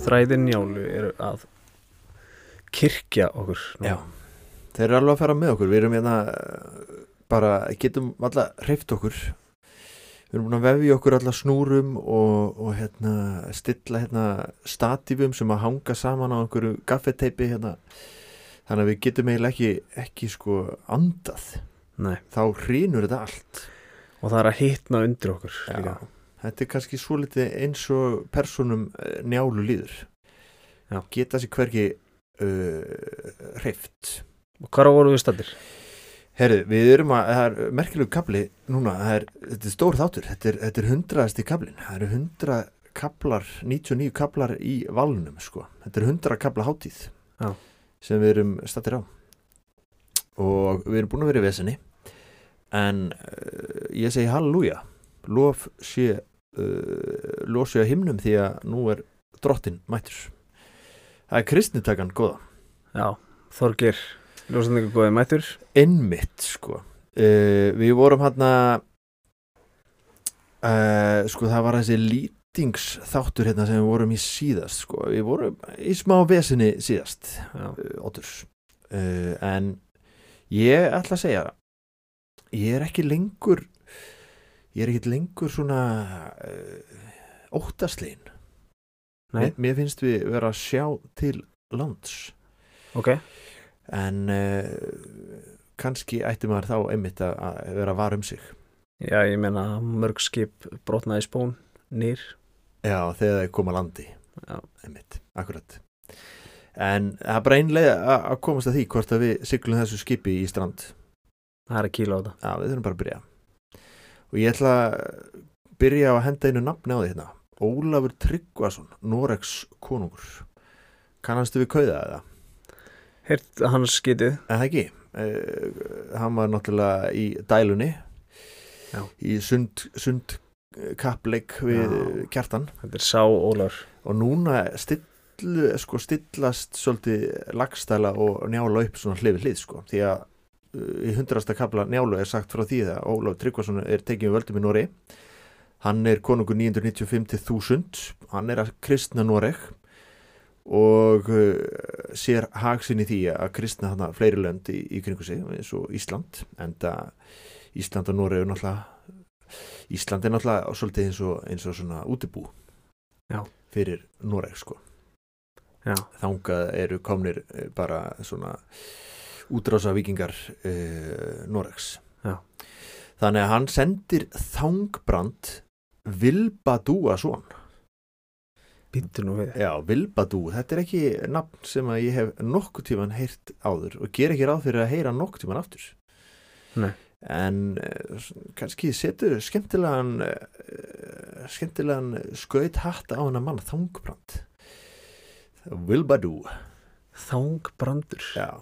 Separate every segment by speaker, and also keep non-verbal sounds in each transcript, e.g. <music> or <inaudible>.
Speaker 1: þræðir njálu eru að kirkja okkur núna.
Speaker 2: Já. Þeir eru alveg að fara með okkur Við erum hérna eh, bara getum alla hreift okkur Við erum búin að vefi okkur alla snúrum og, og hérna stilla hérna statífum sem að hanga saman á einhverju gaffeteipi hérna Þannig að við getum eiginlega ekki, ekki sko andað
Speaker 1: Nei,
Speaker 2: Þá hrýnur þetta allt
Speaker 1: og það er að hitna undir okkur líka.
Speaker 2: Þetta er kannski svo litið eins og personum eh, njálu líður
Speaker 1: Já.
Speaker 2: Geta sér hvergi uh, hreift
Speaker 1: og hvar voru við stættir?
Speaker 2: Herru, við erum að, það er merkilegu kabli núna, það er, þetta er stór þáttur, þetta er, þetta er hundraðasti kablin, það eru hundra kablar, 99 kablar í valnum, sko, þetta er hundra kabla hátíð
Speaker 1: Já.
Speaker 2: sem við erum stattir á og við erum búin að vera í vesenni en uh, ég segi halleluja, lof sé, uh, lof sé að himnum því að nú er drottin mættur, það er kristnitakan góða.
Speaker 1: Já, Þorgir ljósendingur góði mættur
Speaker 2: Einmitt sko uh, Við vorum hann uh, Sko það var þessi lýtingsþáttur hérna sem við vorum í síðast sko Við vorum í smá vesinni síðast
Speaker 1: Já,
Speaker 2: uh, Otturs uh, En ég ætla að segja Ég er ekki lengur Ég er ekki lengur svona uh, Óttaslegin
Speaker 1: Nei.
Speaker 2: mér, mér finnst við vera að sjá til lands
Speaker 1: ok
Speaker 2: en uh, kannski ætti maður þá einmitt að- að vera var um sig
Speaker 1: Já, ég meina mörg skip brotnaði spón nýr
Speaker 2: já, þegar það koma landi
Speaker 1: Já.
Speaker 2: einmitt, akkurat en það er bara einlega að komast að því hvort að við siglum þessu skipi í strand
Speaker 1: Það er að kýla á þetta
Speaker 2: já, við þurfum bara að byrja og ég ætla að byrja á að henda einu nafni á því hérna Ólafur Tryggvason, Noregs konungur kannastu við kauða eða?
Speaker 1: Heyrt hans skitið
Speaker 2: En það ekki, uh, hann var náttúrulega í dælunni
Speaker 1: Já.
Speaker 2: í sund, sund kappleik við
Speaker 1: Já.
Speaker 2: kjartan
Speaker 1: Þetta er Sá Ólafur
Speaker 2: og núna still, sko, stillast svolítið lagstæla og njála upp svona hlifi hlið sko því að uh, í hundrasta kapla njálu er sagt frá því að Ólaf Tryggvason er tekið við völdum í Nóri hann er konungur 995 til 1000 hann er að kristna Noreg og uh, sér hagsinn í því að kristna þarna fleiri lönd í, í kringu sig eins og Ísland en það Ísland og Noreg er náttúrulega Ísland er náttúrulega svolítið eins og, eins og svona útibú
Speaker 1: Já.
Speaker 2: fyrir Noreg sko
Speaker 1: Já,
Speaker 2: þangað eru komnir eh, bara svona útrása vikingar uh, Noregs
Speaker 1: Já.
Speaker 2: þannig að hann sendir þangbrand Vilbadúa svon
Speaker 1: býttu nú við
Speaker 2: já, Vilbadú, þetta er ekki nafn sem að ég hef nokkuð tíman heyrt áður og ger ekki ráð fyrir að heyra nokkuð tíman aftur
Speaker 1: Nei.
Speaker 2: en eh, s- kannski setur skemmtilegan uh, skemmtilegan skaut hatt á hennar mann þangbrand Vilbadú
Speaker 1: Þangbrandur
Speaker 2: Já.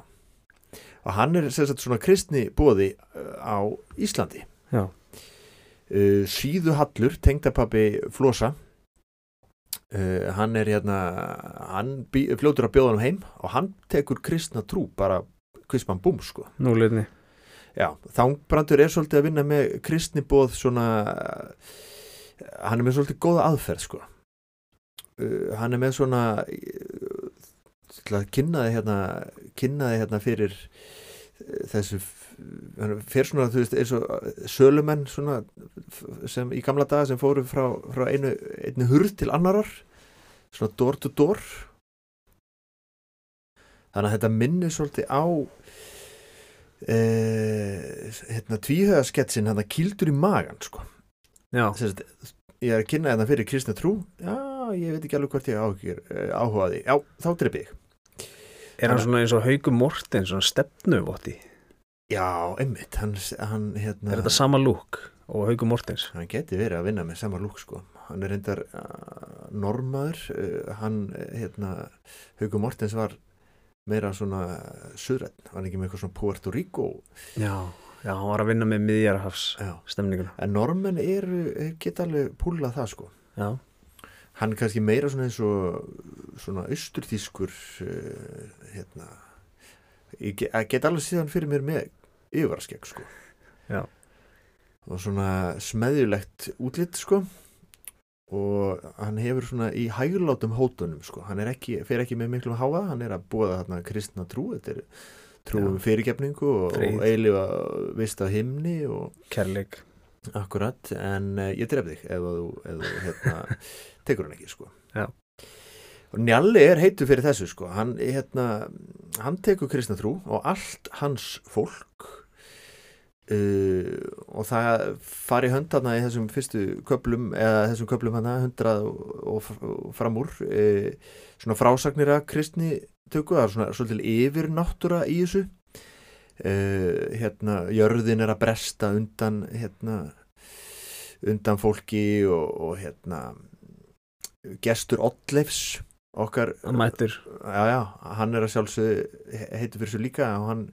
Speaker 2: Og hann er sem sagt svona kristni bóði á Íslandi.
Speaker 1: Já.
Speaker 2: Uh, síðu Hallur, tengdapappi Flosa, uh, hann er hérna, hann bý, fljótur að bjóða hann heim og hann tekur kristna trú bara kvisman búm sko.
Speaker 1: Nú liðni
Speaker 2: Já, þangbrandur er svolítið að vinna með kristnibóð svona, hann er með svolítið góða aðferð sko. Uh, hann er með svona, uh, til að kynna þið hérna, kynna þið hérna fyrir uh, þessu, f- hann fyrir svona, þú veist, eins og uh, sölumenn svona f- sem í gamla daga sem fóru frá, frá einu, einu hurð til annarar, svona door to door. Þannig að þetta minnir svolítið á uh, hérna, tvíhöðasketsin hérna kildur í magan sko.
Speaker 1: Já,
Speaker 2: Sest, ég er að kynna hérna fyrir kristna trú já, ég veit ekki alveg hvort ég áhugjur, uh, áhuga á því, já, þá drep ég
Speaker 1: er hann svona eins og Hauku Morten svona stefnuvotti
Speaker 2: já, einmitt, hann, hann hérna,
Speaker 1: Er þetta sama lúk og Hauku Mortens
Speaker 2: hann geti verið að vinna með sama lúk sko. hann er reyndar uh, normaður uh, hann, eh, hérna Haukur Mortens var meira svona suðrætt, hann ekki með eitthvað svona Puerto Rico
Speaker 1: Já, já, hann var að vinna með miðjarhafs
Speaker 2: já.
Speaker 1: stemninguna
Speaker 2: en normenn eru, eh, geta alveg púlað það sko
Speaker 1: Já,
Speaker 2: hann er kannski meira svona eins og svona austurþýskur uh, hérna ég ge- að get alveg síðan fyrir mér með yfarskegg sko
Speaker 1: Já.
Speaker 2: og svona smeðjulegt útlitt sko og hann hefur svona í hæglátum hótunum sko, hann er ekki, fer ekki með miklum háa, hann er að búa þarna kristna trú, þetta er trú
Speaker 1: Já.
Speaker 2: um fyrirgefningu og,
Speaker 1: Frið.
Speaker 2: og eilifa vist af himni og
Speaker 1: kærleik
Speaker 2: akkurat, en uh, ég dref þig ef að þú, ef þú hérna, tekur hann ekki sko.
Speaker 1: Já.
Speaker 2: Og Njalli er heitu fyrir þessu sko, hann, hérna, hann tekur kristna trú og allt hans fólk uh, og það fari höndana í þessum fyrstu köplum eða þessum köplum hana hundrað og, og, og fram úr uh, svona frásagnir að kristni tökku, það er svona svolítil yfir náttúra í þessu uh, hérna, jörðin er að bresta undan hérna undan fólki og, og hérna gestur Oddleifs okkar
Speaker 1: hann mættur
Speaker 2: já, já, hann er að sjálfsögðu he- heitir fyrir svo líka og hann,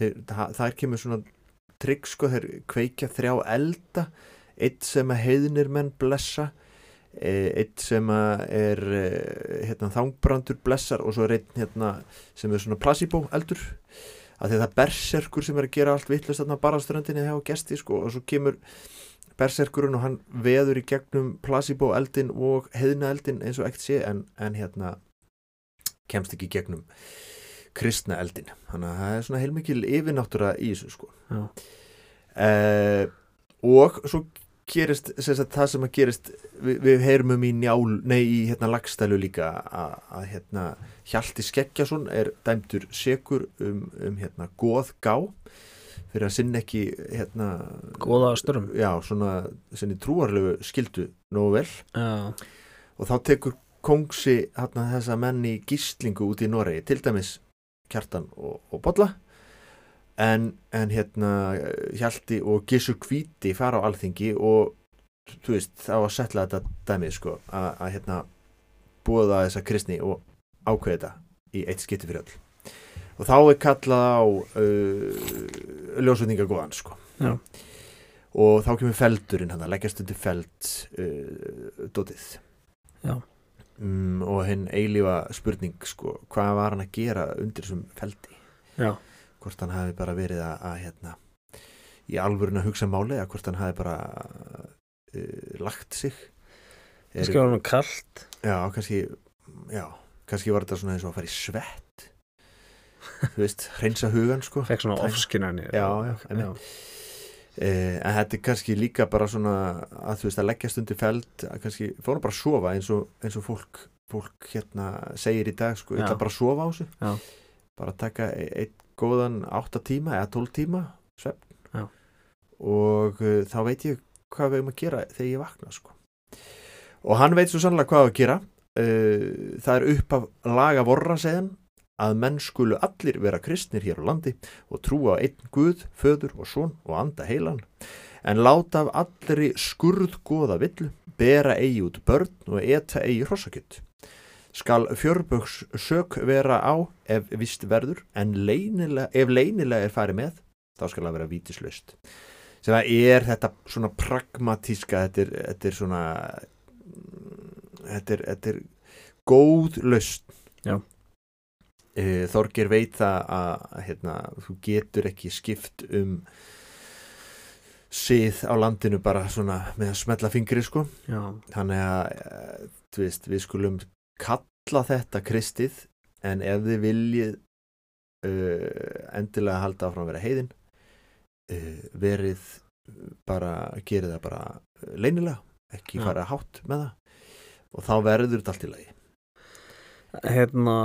Speaker 2: þeir, það, þær kemur svona trygg sko, þeir kveikja þrjá elda eitt sem að heiðnir menn blessa eh, eitt sem að er eh, hérna, þangbrandur blessar og svo er einn hérna, sem er svona placebo eldur að því að það er berserkur sem er að gera allt vittlust þarna bara á ströndinni hjá gesti sko, og svo kemur berserkurinn og hann veður í gegnum placebo eldin og heiðna eldin eins og ekkert sé en, en hérna kemst ekki í gegnum kristna eldin þannig að það er svona heilmikil yfirnáttúra í þessu sko
Speaker 1: Já.
Speaker 2: Eh, og svo gerist sem sagt, það sem að gerist við, við heyrum um í njál, nei í hérna lagstælu líka að, að hérna Hjalti Skeggjason er dæmdur segur um, um hérna góð gá fyrir að sinna ekki hérna
Speaker 1: góða á störum
Speaker 2: já, svona sinni trúarlegu skildu nógu vel
Speaker 1: já,
Speaker 2: og þá tekur kongsi hérna, þessa menn í gíslingu út í Noregi, til dæmis Kjartan og, og Bolla en, en hérna Hjalti og Gissur Kvíti fara á alþingi og þú veist, þá að setla þetta dæmið sko, að, að hérna búða þessa kristni og ákveða þetta í eitt skipti fyrir öll og þá er kallað á uh, ljósvendinga góðan sko
Speaker 1: Já.
Speaker 2: og þá kemur feldurinn hann að leggjast undir feld uh, dotið
Speaker 1: Já.
Speaker 2: mm, og henn eilífa spurning sko, hvað var hann að gera undir þessum feldi
Speaker 1: já,
Speaker 2: hvort hann hafi bara verið að, að hérna, í alvörun að hugsa máli eða hvort hann hafi bara uh, lagt sig Er-
Speaker 1: það skilur hann kallt
Speaker 2: Já, kannski já, kannski var þetta svona eins og að fara í svett þú <laughs> veist, hreinsa hugan sko
Speaker 1: fekk svona
Speaker 2: Tæ-
Speaker 1: ofskinnan
Speaker 2: Já, já, einmitt. Eh, en þetta er kannski líka bara svona að þú veist að leggja stundi feld að kannski fórum bara að sofa eins og, eins og fólk, fólk hérna segir í dag sko, ég
Speaker 1: Já.
Speaker 2: ætla bara að sofa á sig
Speaker 1: Já.
Speaker 2: bara að taka e- einn góðan 8 tíma eða 12 tíma svefn
Speaker 1: Já.
Speaker 2: og uh, þá veit ég hvað við erum að gera þegar ég vakna sko. og hann veit svo sannlega hvað á að gera uh, það er upp af laga vorra segðan að menn skulu allir vera kristnir hér á landi og trúa á einn guð, föður og son og anda heilan en láta af allri skurðgóða villu bera eigi út börn og eta eigi hrossakjött skal fjörböks sök vera á ef vist verður en leynilega, ef leynilega er farið með þá skal það vera vítislaust sem að er þetta svona pragmatíska þetta er, þetta er svona þetta er, þetta er góð laust
Speaker 1: Já.
Speaker 2: Eh, Þorgeir veit það að að, hérna, þú getur ekki skipt um sið á landinu bara svona með að smetla fingri sko
Speaker 1: já,
Speaker 2: þannig að eh, þú veist, við skulum kalla þetta kristið en ef þið viljið uh, endilega halda áfram að vera heiðin uh, verið uh, bara, gerið það bara uh, leynilega, ekki
Speaker 1: Já.
Speaker 2: fara hátt með það og þá verður þetta allt í lagi
Speaker 1: hérna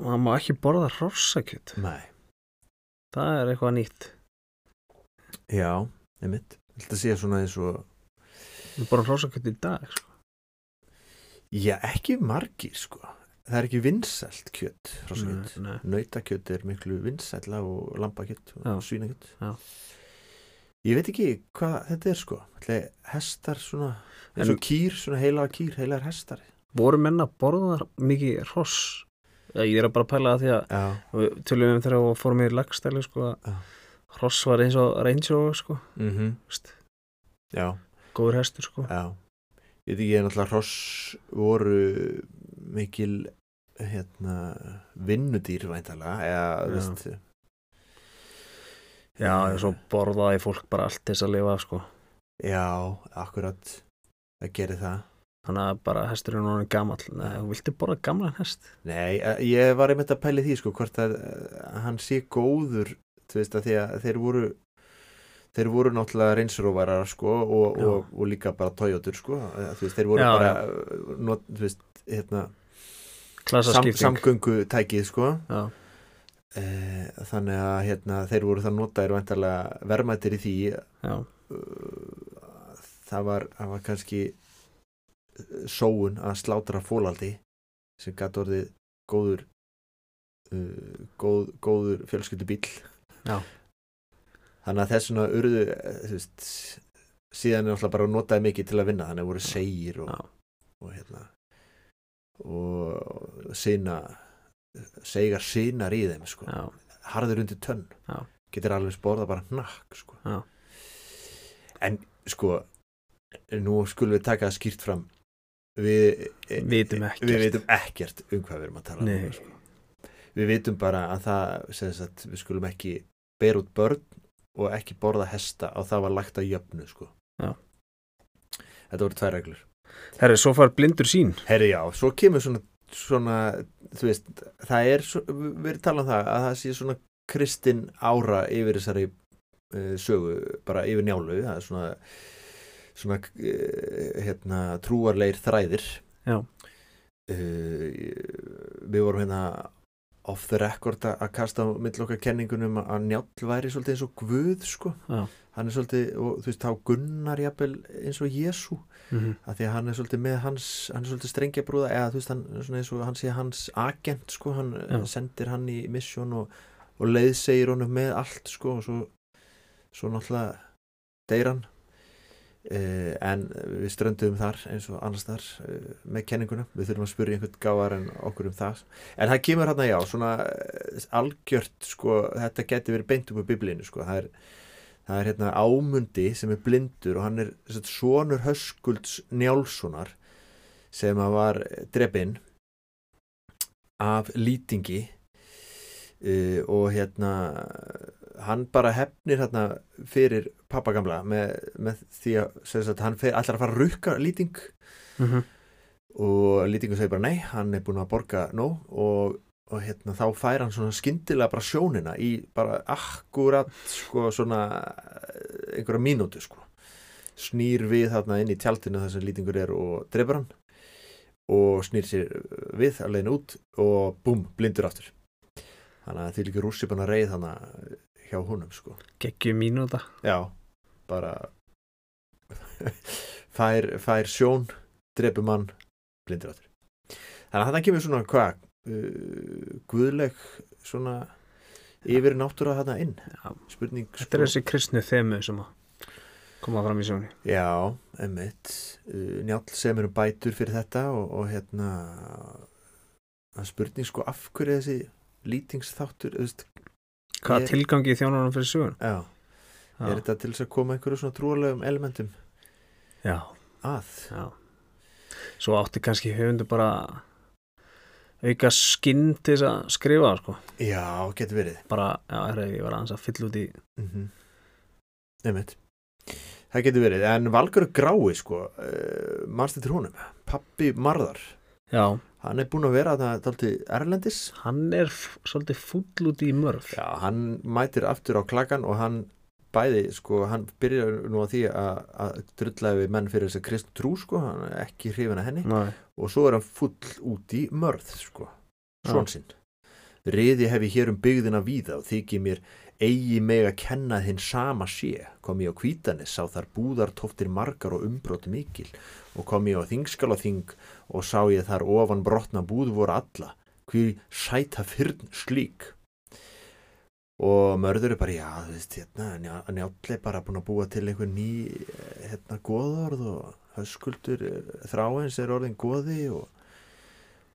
Speaker 1: hann má ekki borða hrossakjöt
Speaker 2: Nei,
Speaker 1: það er eitthvað nýtt
Speaker 2: já, einmitt Þetta sé svona eins og
Speaker 1: við borðum hrossakjöt í dag sko.
Speaker 2: Já, ekki margir sko Það er ekki vinsælt kjöt hrossakjöt.
Speaker 1: Nei, nei.
Speaker 2: Nautakjöt er miklu vinsælla og lambakjöt
Speaker 1: Já.
Speaker 2: og svínakjöt
Speaker 1: Já.
Speaker 2: Ég veit ekki hvað þetta er sko Ætli, Hestar svona eins
Speaker 1: En-
Speaker 2: og kýr, svona heilaga kýr, heilagar hestar
Speaker 1: voru menn að borða mikið hross Eh, ég er að bara pæla það því að
Speaker 2: Já,
Speaker 1: við tölum um þegar við fórum í lagstæli sko, að
Speaker 2: Já.
Speaker 1: hross var eins og reynsjóð sko,
Speaker 2: mm
Speaker 1: veist,
Speaker 2: já,
Speaker 1: góður hestur sko.
Speaker 2: já Ég veit ekki, en alltaf hross voru mikil hérna vinnudýr væntalega eða,
Speaker 1: Já.
Speaker 2: þú veist
Speaker 1: Já, og svo borðaði fólk bara allt til þess að lifa af, sko.
Speaker 2: Já, akkurat það gerir það
Speaker 1: þannig að bara hesturinn hún er gamall Nei, hún vildi borða gamlan hest
Speaker 2: Nei, eh, ég var einmitt að pæli því sko hvort að eh, hann sé góður þú veist að því að þeir voru þeir voru náttúrulega reynsróvarar sko og,
Speaker 1: Já.
Speaker 2: og, og líka bara Toyotur sko Eh, þú veist, þeir voru
Speaker 1: Já,
Speaker 2: bara eh, not, þú veist, hérna, sam,
Speaker 1: klasaskipting
Speaker 2: samgöngu tækið sko
Speaker 1: Já.
Speaker 2: eh, þannig að hérna, þeir voru það notaðir vantarlega verðmættir í því
Speaker 1: Já.
Speaker 2: það var, það var kannski eh, sóun að slátra fólaldi sem gæti orðið góður uh, góð, góður fjölskyldubíl
Speaker 1: Já.
Speaker 2: þannig að þessuna urðu eh, þú veist, síðan er alltaf bara notaði mikið til að vinna þannig að voru segir og,
Speaker 1: Já.
Speaker 2: og hérna og sína segar sínar í þeim sko.
Speaker 1: Já.
Speaker 2: harður undir tönn
Speaker 1: Já.
Speaker 2: getur alveg sporða bara hnakk sko.
Speaker 1: Já.
Speaker 2: en sko nú skulum við taka það skýrt fram við eh,
Speaker 1: Vitum ekkert.
Speaker 2: við vitum ekkert um hvað við erum að tala
Speaker 1: Nei.
Speaker 2: um sko. við vitum bara að það sem sagt, við skulum ekki bera út börn og ekki borða hesta og það var lagt að jöfnu sko.
Speaker 1: Já.
Speaker 2: þetta voru tvær reglur
Speaker 1: herri, svo far blindur sín
Speaker 2: Herri já, svo kemur svona, svona þú veist, það er svo, við erum talað um það að það sé svona kristin ára yfir þessari uh, sögu, bara yfir njálu það er svona, svona uh, hérna, trúarleir þræðir
Speaker 1: Já.
Speaker 2: Eh, við vorum hérna off the record að að kasta á mill okkar kenningunum um að njáll væri svolítið eins og guð sko
Speaker 1: Já.
Speaker 2: hann er svolítið, og, þú veist, þá Gunnar jafnvel eins og Jésu
Speaker 1: Mhm.
Speaker 2: að því að hann er svolítið með hans hann er svolítið strengja brúða eða þú veist hann, er svona eins og, hann sé hans agent sko, hann
Speaker 1: Já.
Speaker 2: sendir hann í misjón og, og leiðsegir honum með allt sko og svo, svo náttúrulega deyr hann uh, en við strönduðum þar eins og annars þar uh, með kenninguna við þurfum að spyrja einhvern gáðar en okkur um það en það kemur hann að já svona eh, algjört sko þetta geti verið beint upp á biblíinu sko það er það er hérna ámundi sem er blindur og hann er sem sagt, sonur Höskulds Njálssonar sem að var drefin af lýtingi uh, og hérna hann bara hefnir hérna fyrir pappa gamla með, með því að sem sagt, hann fer, allar að fara að rukka lýting
Speaker 1: Mhm.
Speaker 2: og lýtingu segir bara nei, hann er búin að borga nóg og, og hérna, þá fær hann svona skyndilega bara sjónina í bara akkurat sko svona eh, einhverja mínútu sko snýr við þarna inn í tjaldinu þar sem lýtingur er og drefur hann og snýr sér við að leiðin út og búm, blindur aftur þannig að því líka rússi búin að reið þannig hjá honum sko
Speaker 1: geggjum mínúta
Speaker 2: já, bara <laughs> fær, fær sjón drepum hann blindir áttur þannig að þetta kemur svona hvað uh, guðleg svona yfir náttúra þarna inn
Speaker 1: Já.
Speaker 2: spurning sko.
Speaker 1: þetta er þessi kristnu þemu sem að koma fram í sjóni
Speaker 2: Já, emmitt Njáll sem eru bætur fyrir þetta og, og hérna að spurning sko af hverju þessi lýtingsþáttur, þú veist,
Speaker 1: hvaða
Speaker 2: Ég-
Speaker 1: tilgangi þjónar hann fyrir sjónu
Speaker 2: já, er þetta til þess að koma einhverju svona trúalegum elementum
Speaker 1: já,
Speaker 2: að
Speaker 1: já svo átti kannski höfundu bara auka skinn til þess að skrifa það, sko.
Speaker 2: Já, getur verið
Speaker 1: bara, já, herra, ég var aðeins að fylla út í
Speaker 2: mm Nefnt Það getur verið, en Valgarur Grái sko, uh, manstu til honum Pappi Marðar,
Speaker 1: já,
Speaker 2: hann er búinn að vera það dálítið erlendis
Speaker 1: hann er f- svolítið fúll út í mörf
Speaker 2: Já, hann mætir aftur á klakan og hann bæði, sko, hann byrjar nú á því að, að drulla við menn fyrir þess að kristn trú, sko, hann er ekki hrifin að henni
Speaker 1: Nei.
Speaker 2: og svo er hann full út í mörð, sko, svon sinn Riði hef ég hér um byggðina víða og þyki mér eigi meg að kenna þinn sama sé. Kom ég á kvítanis, sá þar búðartóftir margar og umbrot mikil og kom ég á þingskala þing og sá ég þar ofan brotna búð voru alla. Hví sæta fyrn slík. Og mörður er bara, já, þú veist, hérna, Njá- njáll er bara búin að búa til einhver ný, eh, hérna, goðorð og höskuldur, eh, þráins er orðin goði og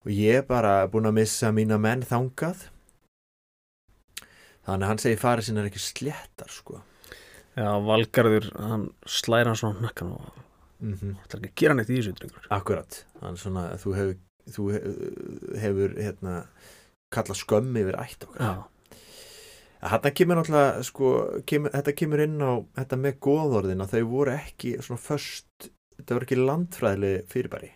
Speaker 2: og ég er bara búin að missa mína menn þangað þannig að hann segir farið sinna er ekki sléttar sko
Speaker 1: já, Valgarður, hann slæra hann svona á hnakkan og
Speaker 2: mm
Speaker 1: Það er ekki að gera neitt í þessu drengur
Speaker 2: akkurat, hann svona þú hefur, þú he- hefur hérna, kallað skömmi yfir ætt okkar
Speaker 1: Já,
Speaker 2: Þetta kemur náttúrulega, sko, kemur, þetta kemur inn á þetta með góðorðin að þau voru ekki svona först, þetta voru ekki landfræðileg fyrirbæri.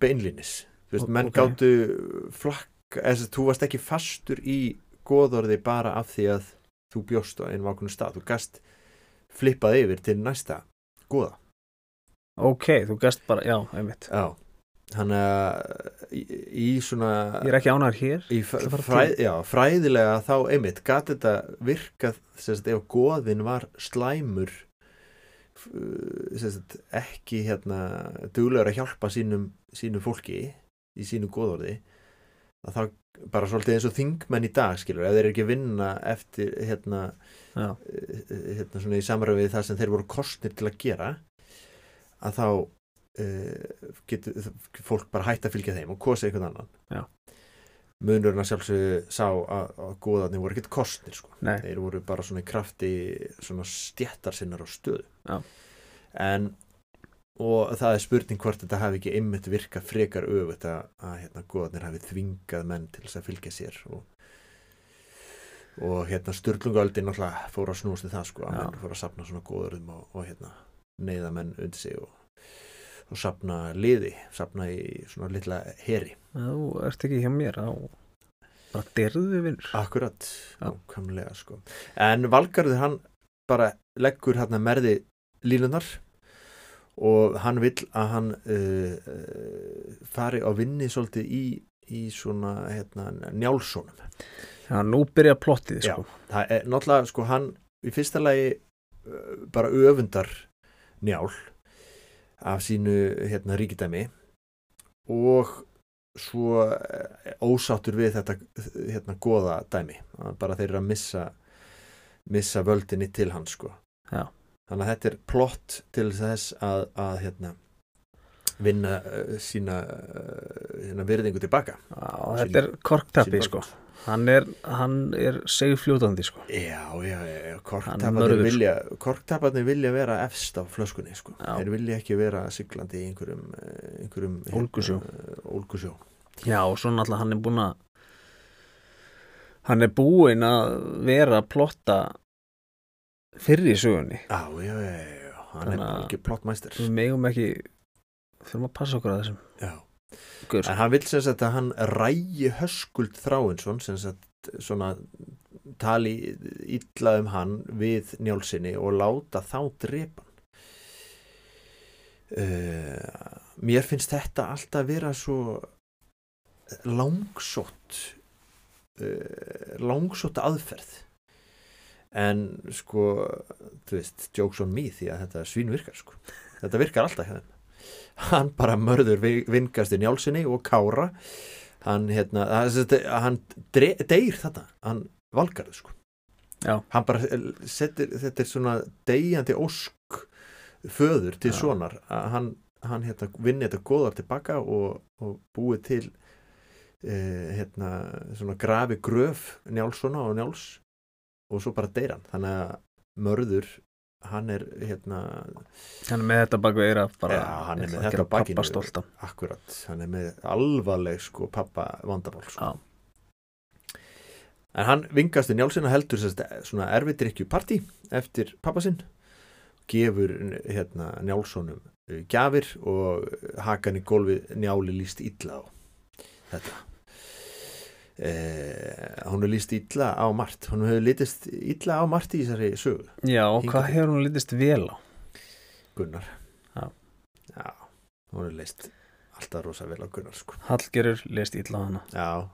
Speaker 2: beinlinis þú veist,
Speaker 1: Ó-
Speaker 2: menn
Speaker 1: ókei.
Speaker 2: gáttu flakk eða þess að þú varst ekki fastur í góðorði bara af því að þú bjóst á einum ákveðnum stað, þú gast flippað yfir til næsta góða
Speaker 1: ok, þú gæst bara, já, einmitt
Speaker 2: já. þannig að í, í svona
Speaker 1: ég er ekki ánæður hér
Speaker 2: í
Speaker 1: ætla að fara
Speaker 2: fræð, já, fræðilega þá einmitt gat þetta virkað sem sagt, ef goðin var slæmur f- sem sagt, ekki hérna duglegur að hjálpa sínum, sínum fólki í sínu goðorði að þá bara svolítið eins og þingmenn í dag skilur, ef þeir eru ekki að vinna eftir hérna,
Speaker 1: Já.
Speaker 2: eh, hérna svona í samræfi við það sem þeir voru kostnir til að gera að þá uh, getur fólk bara hætt að fylgja þeim og kosa einhvern annan
Speaker 1: Já.
Speaker 2: munurinn að sjálfsögðu sá að, að góðarnir voru ekkert kostnir sko.
Speaker 1: Nei.
Speaker 2: þeir voru bara svona í krafti svona stjættarsinnar á stöðu
Speaker 1: Já.
Speaker 2: en og það er spurning hvort þetta hafi ekki einmitt virka frekar öfut að, að hérna, góðarnir hafi þvingað menn til þess að fylgja sér og, og hérna Sturlungaöldin náttúrulega fór að snúast í það sko, að
Speaker 1: Já.
Speaker 2: menn fór að sapna svona góðurum og, og hérna neyða menn undir sig og, og sapna liði, sapna í svona litla heri.
Speaker 1: þú ert ekki hjá mér á bara derðu vinnur
Speaker 2: Akkurat,
Speaker 1: Já.
Speaker 2: ákamlega sko. En Valgarður hann bara leggur hérna merði línunar og hann vill að hann uh, uh, fari á vinni svolítið í, í svona hérna, njálssonum.
Speaker 1: já, nú byrja plottið, sko
Speaker 2: það er náttúrulega sko hann í fyrsta lagi uh, bara öfundar njál af sínu hérna ríkidæmi og svo eh, ósáttur við þetta eh, hérna goða dæmi Að bara þeir eru að missa missa völdinni til hans sko
Speaker 1: Já.
Speaker 2: þannig að þetta er plott til þess að, að hérna vinna uh, sína uh, hérna virðingu tilbaka
Speaker 1: já, þetta er korktappi,
Speaker 2: Sín
Speaker 1: sko hann er, hann er segfljótandi, sko
Speaker 2: Já, já, já, já,
Speaker 1: Hann
Speaker 2: korktaparnir
Speaker 1: mörður,
Speaker 2: vilja, korktaparnir vilja vera efst á flöskunni, sko.
Speaker 1: Já.
Speaker 2: Þeir vilja ekki vera siglandi í einhverjum, eh, einhverjum hérna,
Speaker 1: Ólgusjó.
Speaker 2: eh, Ólgusjó.
Speaker 1: Já, og svo náttúrulega hann er búinn að hann er búinn að vera að plotta fyrir í sögunni
Speaker 2: Já, já, já, já, já, hann
Speaker 1: Þannig
Speaker 2: er
Speaker 1: að-
Speaker 2: bara ekki plottmæstur.
Speaker 1: við megum ekki þurfum að passa okkur að þessum sko.
Speaker 2: Já.
Speaker 1: gaur
Speaker 2: En hann vil sem sagt að hann rægi höskuld þráinsson, sem sagt svona tali illa um hann við njálsinni og láta þá drepa hann. Uh, mér finnst þetta alltaf vera svo langsótt uh, langsótt aðferð en sko þú veist, jokes on me því að þetta svínvirkar sko, þetta virkar alltaf hérna hann bara mörður vi- vingast í njálsinni og kára hann hérna, það er sem sagt, hann dre- deyr þetta, hann valgarðu sko
Speaker 1: Já.
Speaker 2: hann bara setur, þetta er svona deyjandi ósk föður til
Speaker 1: Já.
Speaker 2: sonar að hann, hann hérna vinni þetta góðar tilbaka og, og búið til eh, hérna svona grafi gröf njálssona og njáls og svo bara deyr hann, þannig að mörður hann er hérna
Speaker 1: hann er með þetta baku eira bara
Speaker 2: Já, hann
Speaker 1: ætla
Speaker 2: er með
Speaker 1: að
Speaker 2: þetta
Speaker 1: gera
Speaker 2: bakinu.
Speaker 1: pabba stoltan.
Speaker 2: Akkurat, hann er með alvarleg sko pappa vandamál sko.
Speaker 1: Já.
Speaker 2: En hann vingast í njálsina heldur sérst, svona erfidrykju partí eftir pappa sinn gefur hérna, njálssonum eh, gjafir og hakan í gólfið njáli líst illa á þetta eh, hún er líst illa á margt hún hefur litist illa á margt í þessari sögu
Speaker 1: já, og
Speaker 2: Hingað
Speaker 1: hvað
Speaker 2: til.
Speaker 1: hefur hún litist vel á
Speaker 2: Gunnar
Speaker 1: Já.
Speaker 2: Já, hún er list alltaf rosa vel á Gunnar sko
Speaker 1: Hallgerur leist illa á hana
Speaker 2: Já,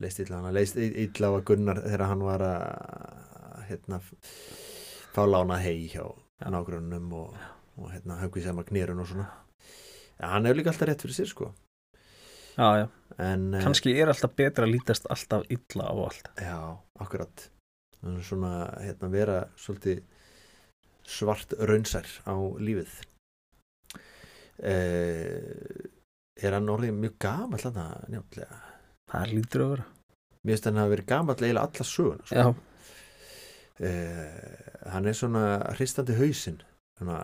Speaker 2: leist illa á hana leist i- illa á að Gunnar þegar hann var að hérna f- fá lána hei hjá
Speaker 1: Já.
Speaker 2: nágrunum og, og hérna höggvi sem að knýrun og svona ja, hann hefur líka alltaf rétt fyrir sér sko
Speaker 1: já, já,
Speaker 2: en eh,
Speaker 1: kannski er alltaf betra að lítast alltaf illa á allt
Speaker 2: já, akkurat Hann er svona hérna vera svolítið svart raunsær á lífið eh, er hann orðið mjög gamall hann að njáttlega
Speaker 1: það lítur að vera
Speaker 2: mér finnst hann að vera gamall eiginlega alla söguna sko.
Speaker 1: já,
Speaker 2: uh, hann er svona hristandi hausinn svona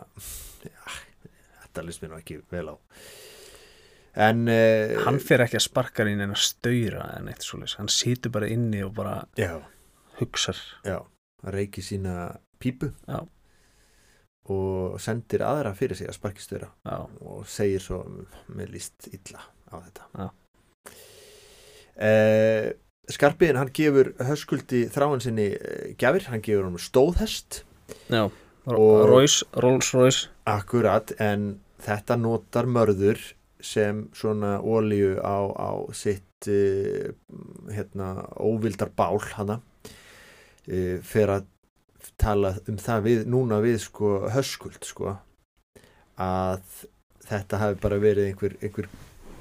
Speaker 2: ja, þetta list mér nú ekki vel á en uh,
Speaker 1: hann fer ekki að sparka inn en að stöyra en eitt svoleiðis, hann situr bara inni og bara
Speaker 2: já,
Speaker 1: hugsar
Speaker 2: já, hann reiki sína pípu
Speaker 1: Já.
Speaker 2: og sendir aðra fyrir sig að sparkistöra
Speaker 1: já,
Speaker 2: og segir svo með líst illa á þetta
Speaker 1: Já.
Speaker 2: eh, Skarpiðin hann gefur höskuldi þráin sinni eh, gjafir, hann gefur honum stóðhest
Speaker 1: já.
Speaker 2: Og-
Speaker 1: Og... Royce, Rolls Royce
Speaker 2: akkurat en þetta notar mörður sem svona olíu á, á sitt eh, hérna óvildar bál hana eh, fer að tala um það við, núna við sko höskuld sko að þetta hafi bara verið einhver, einhver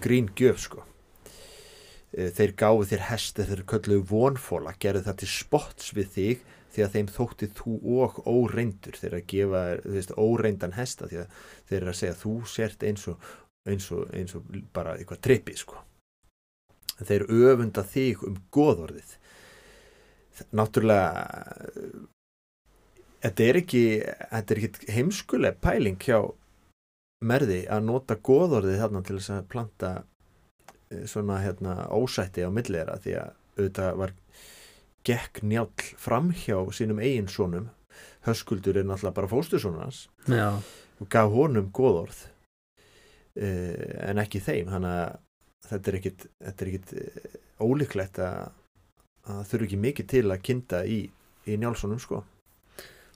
Speaker 2: grín gjöf sko Eh, þeir gáfu þér hesti þeir kölluðu vonfóla gerðu það til spots við þig því að þeim þótti þú og óreindur þeir að gefa þér, þú veist, óreindan hesta því að þeir eru að segja þú sért eins og, eins og, eins og bara eitthvað trippi sko þeir öfunda þig um góðorðið Þ- náttúrulega eh, þetta er ekki þetta er ekki heimskuleg pæling hjá merði að nota góðorðið þarna til þess að planta eh, svona hérna ósætti á millera því að auðvitað var gekk njáll framhjá sínum eigin sonum höskuldur er náttúrulega bara fóstursonans
Speaker 1: já,
Speaker 2: og gaf honum góðorð uh, en ekki þeim þannig að þetta er ekkit, þetta er ekkit eh, ólíklegt að að það þurfi ekki mikið til að kynda í, í njálssonum sko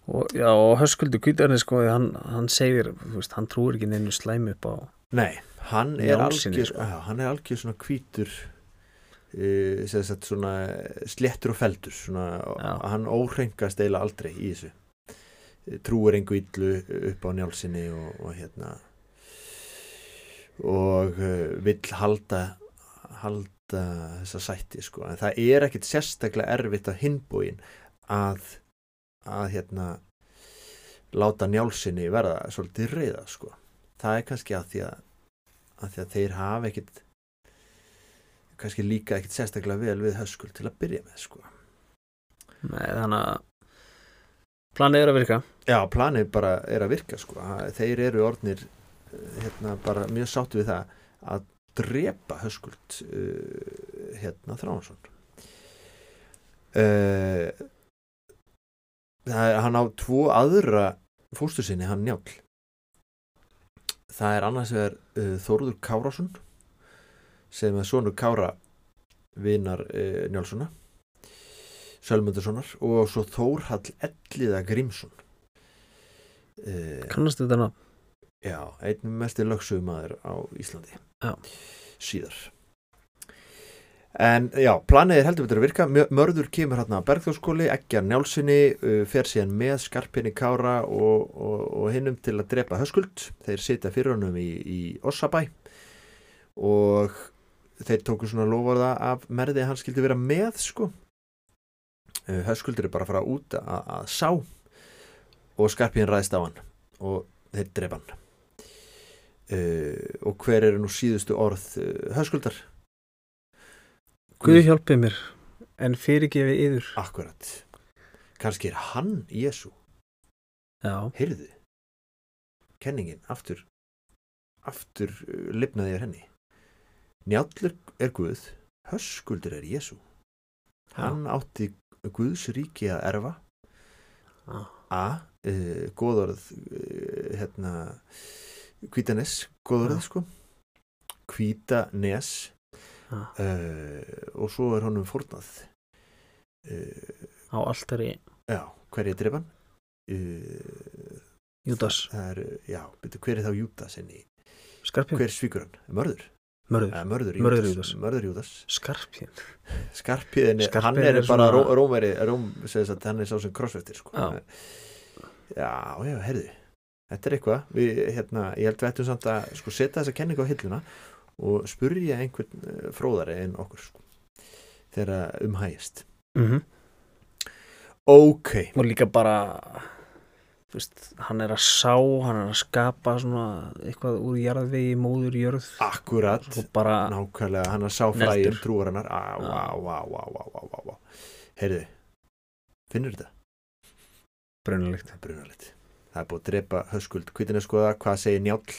Speaker 1: og, já, og höskuldu kvítarni sko, hann, hann segir, þú veist, hann trúir ekki neinu slæmi upp á
Speaker 2: Nei, hann er
Speaker 1: Njálssyni,
Speaker 2: algjör
Speaker 1: sko.
Speaker 2: sko. hann er algjör svona hvítur uh, sem sagt svona sléttur og feldur svona,
Speaker 1: Já.
Speaker 2: hann óhrengast eiginlega aldrei í þessu Eh, trúir engu illu upp á njálsinni og, og hérna og uh, vill halda halda þessa sætti sko en það er ekkit sérstaklega erfitt á hinbúin að að hérna láta njálsinni verða svolítið reyða sko það er kannski að því að að því að þeir hafa ekkit kannski líka ekkit sérstaklega vel við höskul til að byrja með sko.
Speaker 1: Nei, þannig að planið er að virka
Speaker 2: Já, planið bara er að virka sko. Það- þeir eru orðnir eh, hérna, bara mjög sáttu við það að drepa höskuld uh, hérna Þránsson uh, það er, hann á tvo aðra fóstur sinni hann njáll það er annars vegar uh, Þórður Kárásson sem er sonur Kára vinar uh, Njálssona Sölmundurssonar og svo Þórhall Elliða Grímsson uh,
Speaker 1: kannastu þetta ná
Speaker 2: Já, einn mest er lögsögumæður á Íslandi
Speaker 1: Já.
Speaker 2: Síðar En já, planið er heldur betur að virka Mjö- Mörður kemur hérna að Bergþórskóli Eggjar Njálsini, uh, fer síðan með Skarpinni Kára og, og, og hinnum til að drepa höskuld Þeir sitja fyrir honum í, í Ossabæ Og þeir tóku svona lofaða af merði að hann skildi vera með sko Uh, Höskuldur er bara að fara út að, að sá og Skarpin ræðist á hann og þeir drepa hann uh, og hver eru nú síðustu orð uh, höskuldar
Speaker 1: Guð hjálpið mér, en fyrirgefið yður
Speaker 2: akkurat kannski er hann Jésu
Speaker 1: já,
Speaker 2: heyrðu kenningin aftur aftur uh, lifnaði yfir henni njálur er Guð höskuldur er Jésu hann átti Guðs ríki að erfa
Speaker 1: Já.
Speaker 2: a uh, góðorð uh, hérna hvítanes góðorð
Speaker 1: Já.
Speaker 2: sko hvítanes
Speaker 1: já,
Speaker 2: uh, og svo er honum fórnað uh,
Speaker 1: á alltari
Speaker 2: já, hver er drepan? Uh,
Speaker 1: Júdas,
Speaker 2: það er, uh, já, betur, hver er þá Júdas inni?
Speaker 1: skarpjum,
Speaker 2: hver svíkur hann? Mörður?
Speaker 1: mörður
Speaker 2: Eh, Mörður
Speaker 1: Mörður
Speaker 2: Júdas
Speaker 1: Júdas.
Speaker 2: Mörður Júdas
Speaker 1: skarpjum,
Speaker 2: Skarpiðin, er- hann
Speaker 1: Skarpiðin
Speaker 2: er,
Speaker 1: er
Speaker 2: bara
Speaker 1: svona-
Speaker 2: ró, rómveri róm, segðis að hann er sá sem krossveftir sko.
Speaker 1: Já.
Speaker 2: já, já, herðu þetta er eitthvað, við, hérna, ég held við ættum samt að sko, setja þessa kenningu á hilluna og spurja einhvern eh, fróðari en okkur sko, þegar um hægist
Speaker 1: mhm
Speaker 2: ok,
Speaker 1: og líka bara þú veist, hann er að sá hann er að skapa svona eitthvað úr jarðvegi, móður jörð
Speaker 2: Akkurat,
Speaker 1: og bara
Speaker 2: nákvæmlega, hann að sá
Speaker 1: Neldur.
Speaker 2: fræðin trúar hennar, á,
Speaker 1: Já.
Speaker 2: á, á, á, á, á, á, á, heyrðu, finnur þetta?
Speaker 1: brunalíkt
Speaker 2: Það er brunalit. Það er búið að drepa höskuld, hvitin er skoða, hvað segir Njáll?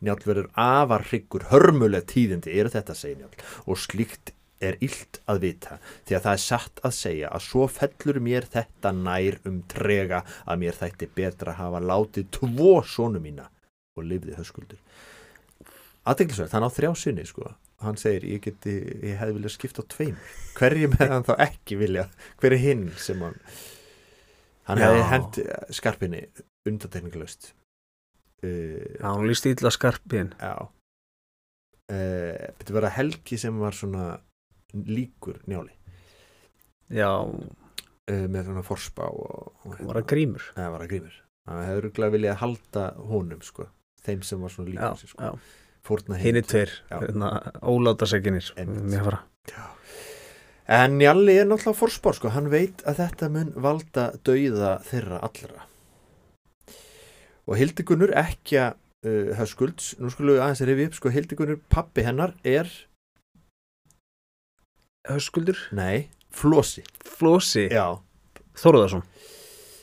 Speaker 2: Njáll verður afar hryggur, hörmuleg tíðindi, eru þetta, segir Njáll, og slíkt er illt að vita því að það er satt að segja að svo fellur mér þetta nær um trega að mér þætti betra að hafa látið tvo sonu mína og lifði höskuldur aðeinsverð, hann á þrjá sinni sko hann segir ég geti, ég hefði viljað skipta á tveim hverjum hefði hann þá ekki viljað hver er hinn sem hann hann
Speaker 1: Já.
Speaker 2: hefði hend skarpinni undatekningalaust uh,
Speaker 1: Já, hún líst illa skarpin
Speaker 2: Já uh, Þetta var að Helgi sem var svona líkur njáli
Speaker 1: Já,
Speaker 2: uh, með svona forspá og, og
Speaker 1: hún var að grímur
Speaker 2: Nei, var að grímur Það hefur rúglega viljað halda honum sko þeim sem var svona líkur
Speaker 1: Já,
Speaker 2: sér sko
Speaker 1: já,
Speaker 2: Fórna
Speaker 1: hinn er
Speaker 2: hinum.
Speaker 1: tveir hérna.
Speaker 2: Já.
Speaker 1: Óláta seginir
Speaker 2: Einmitt.
Speaker 1: Já,
Speaker 2: En Njalli er náttúrulega forspár sko hann veit að þetta mun valda dauða þeirra allra og Hildigunnur ekki að uh, höskulds, nú skulum við aðeins rifja upp sko Hildigunnur pappi hennar er
Speaker 1: höskuldur
Speaker 2: nei, flosi
Speaker 1: Flósi
Speaker 2: Já,
Speaker 1: Þórðarsson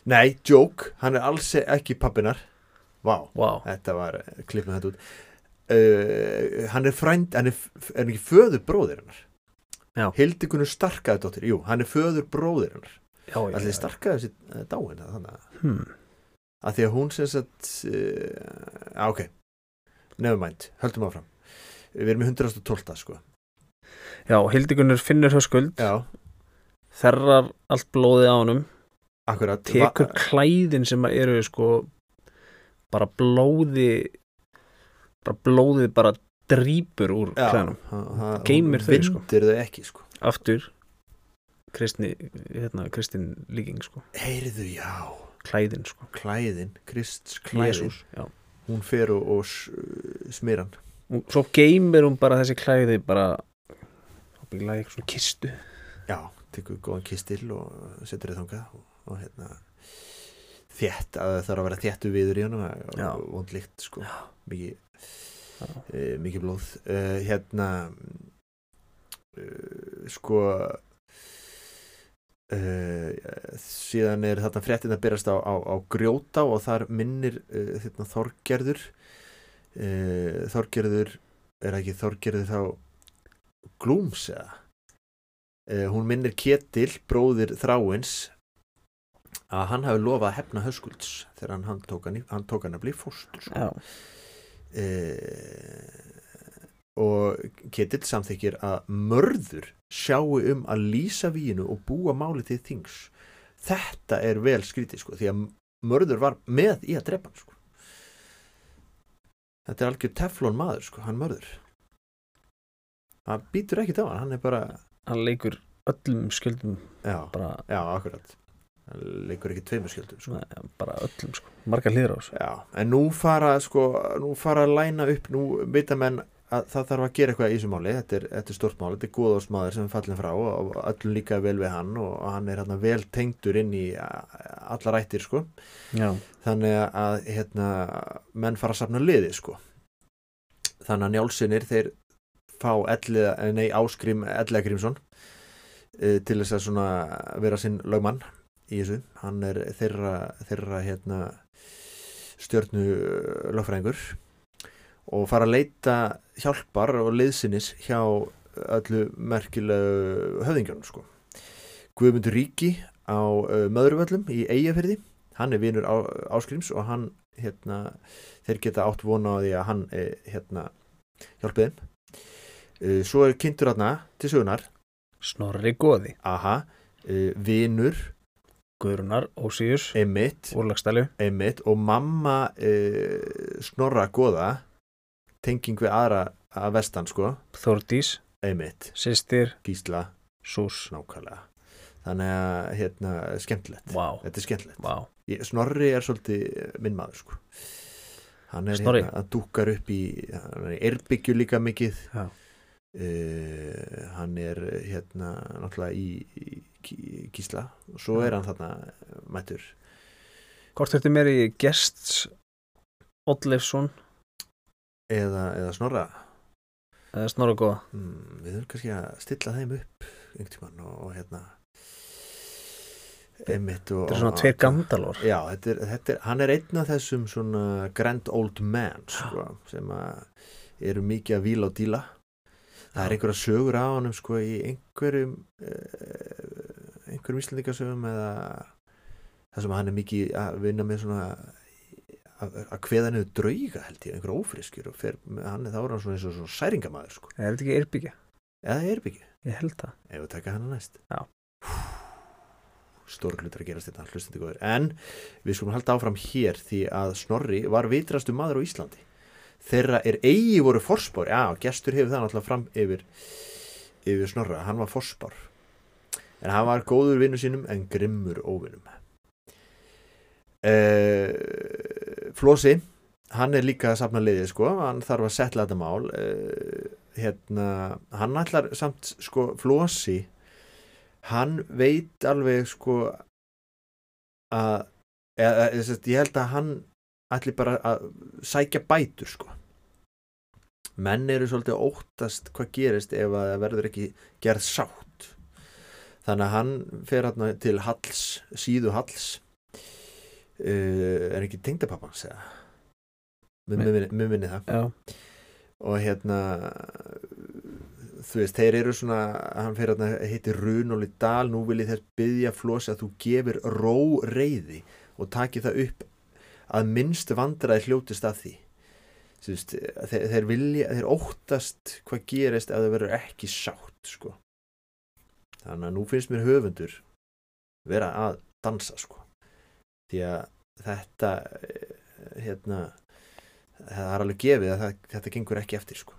Speaker 2: Nei, joke, hann er alls ekki pappinar Vá,
Speaker 1: Vá,
Speaker 2: þetta var, eh, klippum þetta út uh, Hann er frænd, hann er, f- er hann ekki föður bróðir hennar
Speaker 1: Já.
Speaker 2: Hildikunum starkaði dóttir, jú, hann er föður bróðir hennar
Speaker 1: já, já,
Speaker 2: Allir
Speaker 1: já.
Speaker 2: starkaði þessi dáin eh, þannig að-
Speaker 1: Hmm.
Speaker 2: að því að hún sem sagt uh, á, ok, nevermind höldum áfram, við erum í 112 sko,
Speaker 1: já Hildigunnur finnur höskuld
Speaker 2: já,
Speaker 1: Þerrar allt blóðið á honum
Speaker 2: akkurat
Speaker 1: Tekur
Speaker 2: Va-
Speaker 1: klæðin sem eru sko Bara blóði Bara blóðið bara drýpur úr
Speaker 2: Já,
Speaker 1: klæðanum
Speaker 2: það- það-
Speaker 1: geymir
Speaker 2: hún
Speaker 1: þau, sko.
Speaker 2: vindur þau ekki sko
Speaker 1: Aftur Kristni, hérna, Kristin líking sko
Speaker 2: heyrðu, já,
Speaker 1: Klæðin sko
Speaker 2: klæðin, Krist klæðin
Speaker 1: Jésús, já
Speaker 2: hún fer og, og s- smyr hann
Speaker 1: Hún- Svo geymir hún bara þessi klæði bara Ábyggilega í eitthvað svona kistu
Speaker 2: já, tekur góðan kistil og setur þið þangað og, og hérna þétt, að það þarf að vera þéttu viður í honum
Speaker 1: Já.
Speaker 2: og vond líkt sko mikið,
Speaker 1: Já.
Speaker 2: e, mikið blóð e, hérna e, sko e, síðan er þarna fréttin að byrjast á, á, á grjóta og þar minnir e, þarna Þorgerður e, Þorgerður er ekki Þorgerður þá Glúms eða Eh, hún minnir Ketil, bróðir Þráins að hann hafi lofað að hefna höskulds þegar hann, hann, tók, hann, í- hann tók hann að bli fóstur sko.
Speaker 1: Já,
Speaker 2: eh, og Ketil samþykir að mörður sjáu um að lýsa vínu og búa máli til þings þetta er vel skrítið sko því að mörður var með í að drepa hann sko þetta er algjör teflon maður sko, hann mörður hann býtur ekkert á hann, hann er bara
Speaker 1: hann leikur öllum skjöldum
Speaker 2: já,
Speaker 1: bara,
Speaker 2: Já, akkurat Hann leikur ekki tveimur skjöldum sko.
Speaker 1: svona, bara öllum sko Margar hliðar á þessu
Speaker 2: Já, en nú fara sko, nú fara að læna upp nú vita menn að það þarf að gera eitthvað í þessu máli, þetta er, þetta er stort máli þetta er góðásmaður sem er fallin frá og öllum líka vel við hann og hann er hérna vel tengdur inn í a- allar ættir sko,
Speaker 1: Já,
Speaker 2: þannig að hérna, menn fara að safna liði sko þannig að njálsinir þeir fá elliða, nei áskrim elliða Grímsson eh, til þess að svona vera sinn lögmann í þessu, hann er þeirra, þeirra hérna stjörnu eh, lögfræðingur og fara að leita hjálpar og liðsinnis hjá öllu merkilegu höfðingjónum sko Guðmundur Ríki á uh, Möðruvöllum í Eyjafyrði hann er vinur á, Áskrims og hann hérna, þeir geta átt vona á því að hann eh, hérna, hjálpi þeim uh, svo er kynntur aðna til sögunar
Speaker 1: Snorri Goði
Speaker 2: aha, uh, vinur,
Speaker 1: Guðrunar, Ósíus,
Speaker 2: emitt
Speaker 1: Úrlagstælu
Speaker 2: emitt og mamma uh, snorra goða tenging við aðra að vestan sko,
Speaker 1: Þórdís,
Speaker 2: emitt,
Speaker 1: Sistir,
Speaker 2: gísla
Speaker 1: Sús
Speaker 2: nákvæmlega þannig að hérna, skemmtilegt
Speaker 1: Vá,
Speaker 2: þetta er skemmtilegt
Speaker 1: vá
Speaker 2: Ég- Snorri er svolítið minn maður sko. hann er
Speaker 1: Snorri?
Speaker 2: hérna að dúkar upp í hann er erbyggju líka mikið
Speaker 1: Já.
Speaker 2: Eh, hann er hérna náttúrulega í, í, í Gísla og svo
Speaker 1: Já.
Speaker 2: er hann þarna eh, mættur
Speaker 1: Hvort þetta meir í Gests Oddleifsson
Speaker 2: eða, eða Snorra
Speaker 1: eða Snorri Goða
Speaker 2: mm, við þurfum kannski að stilla þeim upp einhvern tímann og, og hérna einmitt og
Speaker 1: Þetta er svona tveir gandalor
Speaker 2: Já, þetta er, þetta er, hann er einn af þessum svona grand old man sko, sem að eru mikið að vila og díla það er einhverja sögur á honum sko í einhverjum eh, einhverjum íslendingasögum eða það sem hann er mikið að vinna með svona að, að kveða niður drauga held ég einhverja ófriskjur og fer, hann er þá er hann svona eins og svona særingamaður sko
Speaker 1: Er þetta ekki Irbyggja?
Speaker 2: eða er byggja,
Speaker 1: Ég held það.
Speaker 2: ef við taka hann næst
Speaker 1: Já.
Speaker 2: stór hlutur að gerast þetta hlustandi góður, en við skulum halda áfram hér því að Snorri var vitrastu maður á Íslandi þeirra er eigi voru forspár já, gestur hefur það náttúrulega fram yfir yfir Snorra, hann var forspár en hann var góður vinnu sínum en grimmur óvinnum uh, Flósi hann er líka að safna liðið sko hann þarf að setla þetta mál uh, hérna, hann ætlar samt sko Flósi hann veit alveg sko að eða, eða, sest, ég held að hann ætli bara að sækja bætur sko menn eru svolítið að óttast hvað gerist ef að það verður ekki gerð sátt þannig að hann fer hann til Halls, síðu Halls uh, er ekki tengdapappa hans eða Mér-
Speaker 1: Nei.
Speaker 2: mér minni- mér minni það
Speaker 1: Já.
Speaker 2: og hérna þú veist, þeir eru svona hann hérna, fyrir að hitti Runóli Dal nú vil ég þess byggja flosi að þú gefir ró reyði og taki það upp að minnst vandræði hljótist að því Þú veist, þeir, þeir vilja, þeir óttast hvað gerist ef það verður ekki sátt sko þannig að nú finnst mér höfundur vera að dansa sko því að þetta eh, hérna það er alveg gefið að það, þetta gengur ekki eftir sko.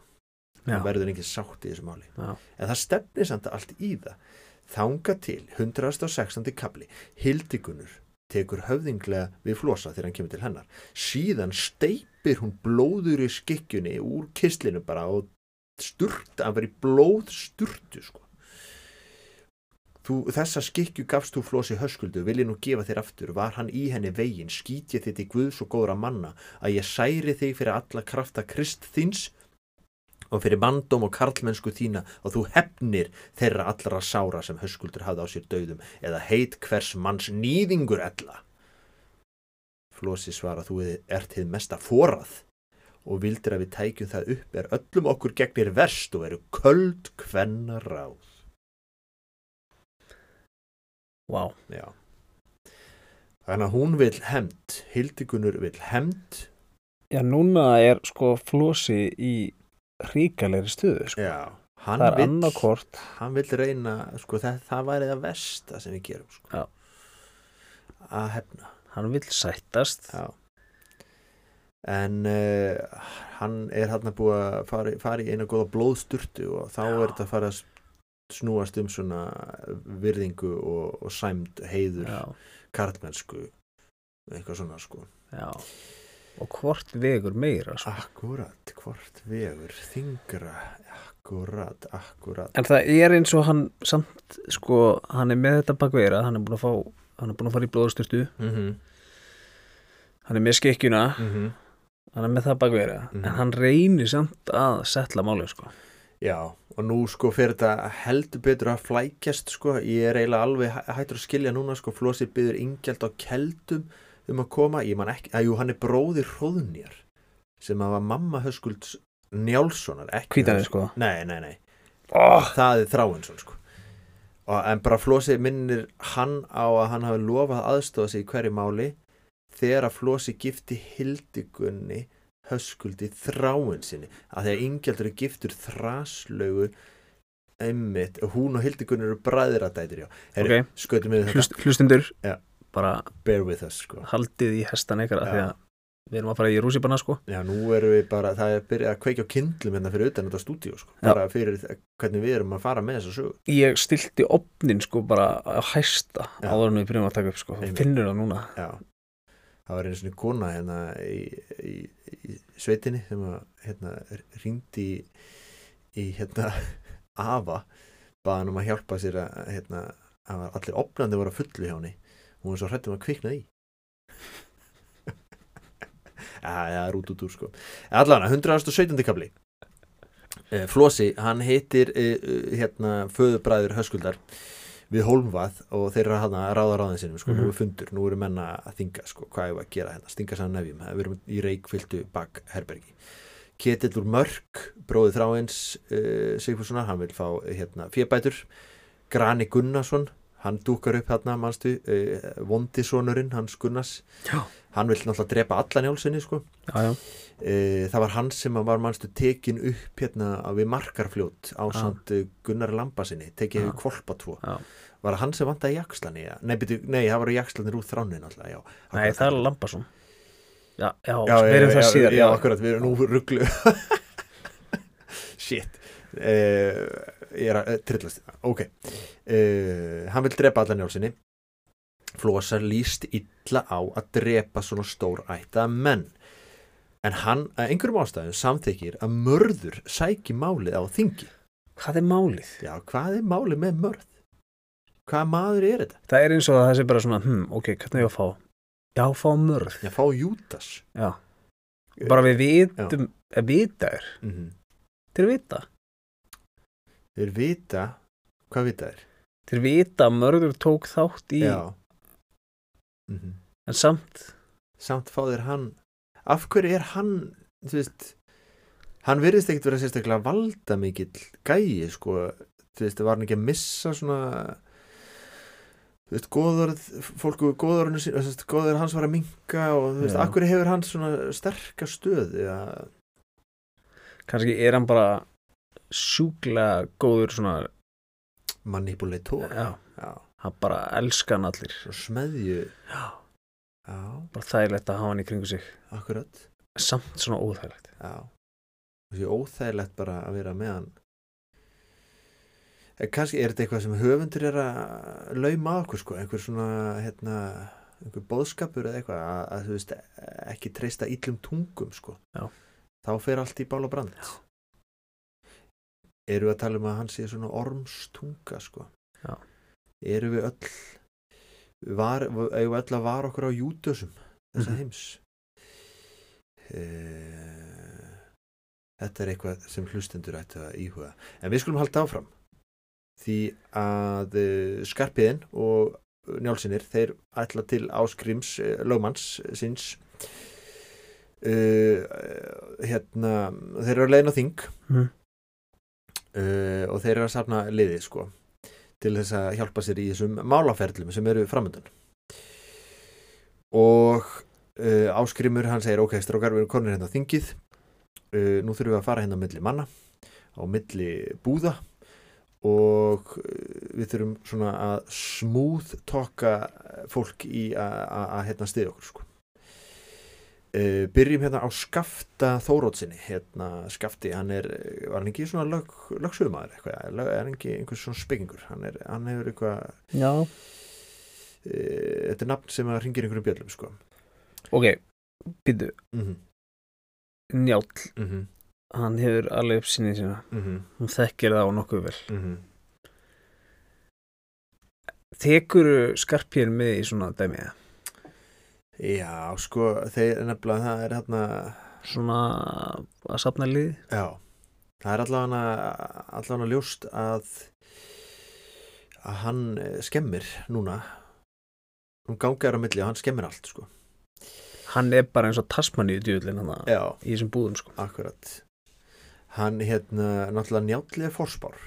Speaker 1: Já.
Speaker 2: það verður engin sátt í þessu máli
Speaker 1: Já.
Speaker 2: en það stefnir samt allt í það þanga til 116. kapli Hildikunur tekur höfðinglega við flosa þegar hann kemur til hennar síðan steipir hún blóður í skikkjunni úr kistlinu bara og sturt, hann var í blóð sturtu sko Þú, þessa skikju gafst þú flosi höskuldu, vil ég nú gefa þér aftur, var hann í henni veginn, skýt ég þitt í guðs og góðra manna, að ég særi þig fyrir alla krafta krist þins og fyrir manndóm og karlmennsku þína og þú hefnir þeirra allra sára sem höskuldur hafði á sér dauðum eða heit hvers manns nýðingur ella. Flosi svara þú ert hið mesta forað og vildir að við tækjum það upp er öllum okkur gegnir verst og eru köld kvenna ráð.
Speaker 1: Vá.
Speaker 2: Já. Þannig að hún vil hemmt, Hildikunur vil hemmt,
Speaker 1: Já, núna er sko flosi í ríkalegri stöðu, sko.
Speaker 2: já, hann
Speaker 1: það er
Speaker 2: vill-
Speaker 1: annarkort.
Speaker 2: hann vil reyna sko, það, það væri það versta sem við gerum sko.
Speaker 1: Já.
Speaker 2: að hefna
Speaker 1: Hann vil sættast.
Speaker 2: já. en uh, hann er hann að búa að fara, í- fara í eina góða blóðsturtu og þá
Speaker 1: Já.
Speaker 2: er þetta að fara að s- snúast um svona virðingu og, og sæmd heiður
Speaker 1: já.
Speaker 2: karlmennsku eitthvað svona sko
Speaker 1: já. Og hvort vegur meira, sko.
Speaker 2: akkurat, hvort vegur þingra, akkurat akkurat,
Speaker 1: En það er eins og hann samt, sko, hann er með þetta bakveira, hann er búin að fá, hann er búin að fara í blóðstyrtu,
Speaker 2: mhm mm
Speaker 1: hann er með skikkjuna, hann er með það bakveira,
Speaker 2: Mhm.
Speaker 1: en hann reynir samt að setla málið, sko.
Speaker 2: Já, og nú sko fyrir þetta heldur betur að flækjast sko, ég er eiginlega alveg hæ- hættur að skilja núna sko, Flosi byður yngjald á keldum um að koma, ég man ekki, að jú, hann er bróðir hróðnýjar sem að var mamma höskulds Njálssonar, ekki
Speaker 1: Hvítanir,
Speaker 2: Höskulds-
Speaker 1: sko.
Speaker 2: Nei, nei, nei,
Speaker 1: Oh.
Speaker 2: það er Þráinsson sko og, en bara Flosi minnir hann á að hann hafi lofað aðstofa sig í hverju máli þegar að Flosi gifti hildigunni höskuldi þráinsinni að þegar yngjaldur er giftur þraslaugu einmitt, hún og hildigunni eru bræðir að dætir já, Heyrðu,
Speaker 1: Ok,
Speaker 2: skautum við þetta,
Speaker 1: Hlust, hlustundur,
Speaker 2: Já.
Speaker 1: bara
Speaker 2: bear with us sko
Speaker 1: haldið í hestan eitthvað,
Speaker 2: Já.
Speaker 1: því að við erum að fara í rússipanna, sko.
Speaker 2: já, nú erum við bara, það er byrjað að kveikja á kindlum hérna fyrir utan þetta stúdíu sko bara fyrir þ- hvernig við erum að fara með þessa sögu
Speaker 1: Ég stilti opnin, sko, bara að hæsta
Speaker 2: Já.
Speaker 1: áður en við byrjum að taka upp, sko.
Speaker 2: Einmitt.
Speaker 1: Finnur það núna.
Speaker 2: Já, það var einu svona kona hérna í, í, í sveitinni sem að hérna ringdi í, í hérna <laughs> afa, baða hann um að hjálpa sér að hérna, að allir opnandi voru að fullu hjá henni hún var svo hrættum að kvikna í Já, það er út út úr sko Allan, 117. kapli Eh, Flosi, hann heitir eh, eh, hérna föðubræður höskuldar við Hólmvað og þeir eru hann að ráða ráðin sinum sko, nú er
Speaker 1: Mhm.
Speaker 2: fundur, nú eru menna að þinga sko, hvað er að gera hérna, stinga sann nefjum við erum í reikfylltu bakherbergi Ketill úr Mörk, bróðið þráins uh, Sigfússonar, hann vil fá hérna, fébætur, Grani Gunnarsson hann dúkar upp hérna, manstu uh, Vondisonurinn, hans Gunnars
Speaker 1: Já.
Speaker 2: hann vil náttúrulega drepa alla njálsinni sko.
Speaker 1: já, já,
Speaker 2: uh, það var hann sem var manstu tekin upp hérna við markarfljót á samt uh, Gunnar Lambasinni tekið
Speaker 1: Já.
Speaker 2: hefur kvolpa tvo
Speaker 1: já.
Speaker 2: var það hann sem vantaði jakslani ja? nei, byrju, nei, það var jakslanir úr þránin alltaf, já,
Speaker 1: Nei,
Speaker 2: Akkurat.
Speaker 1: það er Lambason Já, já,
Speaker 2: já,
Speaker 1: já verðum það
Speaker 2: já,
Speaker 1: síðar
Speaker 2: já, akkurat, við erum nú rugglu <laughs> shit uh, ég er að uh, trillast þetta ok, uh, hann vil drepa allan njálsinni Flósar líst illa á að drepa svona stór ætta menn en hann að einhverjum ástæðum samþykir að mörður sæki málið á þingi
Speaker 1: Hvað er málið?
Speaker 2: já, hvað er málið með mörð? hvaða maður er þetta?
Speaker 1: Það er eins og að það sé bara svona hm, Ok, hvernig er ég að fá? Já, fá mörð
Speaker 2: já, fá Júdas
Speaker 1: Já Bara við vitum, að vita er
Speaker 2: mm
Speaker 1: Þeir vita
Speaker 2: þeir vita hvað vita þeir?
Speaker 1: Þeir vita að mörður tók þátt í
Speaker 2: já mm
Speaker 1: En samt
Speaker 2: samt fá þér hann af hverju er hann þú veist, hann virðist ekkert vera sérstaklega valda mikill gæi sko, þú veist, var hann ekki að missa svona þú veist, góðorð fólku góðorðinu sín, þú veist, góðorð hans var að minka og þú veist,
Speaker 1: Já.
Speaker 2: af hverju hefur hann svona sterka stöð ja,
Speaker 1: kannski er hann bara sjúklega góður svona
Speaker 2: manipulator
Speaker 1: Já,
Speaker 2: já,
Speaker 1: hann bara elska hann allir
Speaker 2: svona smeðju
Speaker 1: Já,
Speaker 2: já,
Speaker 1: bara þægilegt að hafa hann í kringu sig
Speaker 2: akkurat
Speaker 1: Samt svona óþægilegt
Speaker 2: Já, og því óþægilegt bara að vera með hann Eh, kannski er þetta eitthvað sem höfundur er að lauma að okkur sko, einhver svona hérna, einhver bóðskapur eða eitthvað að, að þú veist ekki treysta illum tungum sko
Speaker 1: Já.
Speaker 2: þá fer allt í bál og brand Já. eru við að tala um að hann sé svona ormstunga sko
Speaker 1: Já.
Speaker 2: eru við öll var, eigum við öll að vara okkur á júdösum þessa
Speaker 1: Mhm.
Speaker 2: heims Eh, Þetta er eitthvað sem hlustendur ættu að íhuga. En við skulum halda áfram því að eh, skarpiðin og njálsinir, þeir ætla til áskrims eh, lögmanns eh, síns uh, hérna þeir eru að leiðin á þing
Speaker 1: mm.
Speaker 2: uh, og þeir eru að safna liði sko til þess að hjálpa sér í þessum málaferlum sem eru framöndan og uh, áskrimur hann segir ok strákar við erum konir hérna á þingið uh, nú þurfum við að fara hérna á milli manna á milli búða og uh, við þurfum svona að smúð tokka fólk í að- að að, hérna stiða okkur sko Uh, byrjum hérna á Skafta Þórótsinni hérna Skafti, hann er eh, var hann ekki svona lög, lögsögumæður eitthvað, lög, er hann ekki einhvers svona spekingur hann, er, hann hefur eitthvað uh,
Speaker 1: Já
Speaker 2: þetta er nafn sem að ringir einhverjum bjöllum sko.
Speaker 1: Ok, býtu,
Speaker 2: mm
Speaker 1: Njáll
Speaker 2: -hmm.
Speaker 1: Hann hefur alveg upp sinni sína
Speaker 2: Mm -hmm.
Speaker 1: Hún þekkir það á nokkuð vel
Speaker 2: Mm -hmm.
Speaker 1: Tekur skarpjörn með í svona dæmiða
Speaker 2: Já, sko, þeir nefnilega það er hérna
Speaker 1: Svona að safna lið
Speaker 2: já, það er allavega allavega ljóst að að hann eh, skemmir núna hún gangar á milli og hann skemmir allt sko.
Speaker 1: Hann er bara eins og tasmann í djúðlinn hann að-
Speaker 2: Já,
Speaker 1: Í þessum búðum sko
Speaker 2: akkurat hann hérna náttúrulega njállega fórspár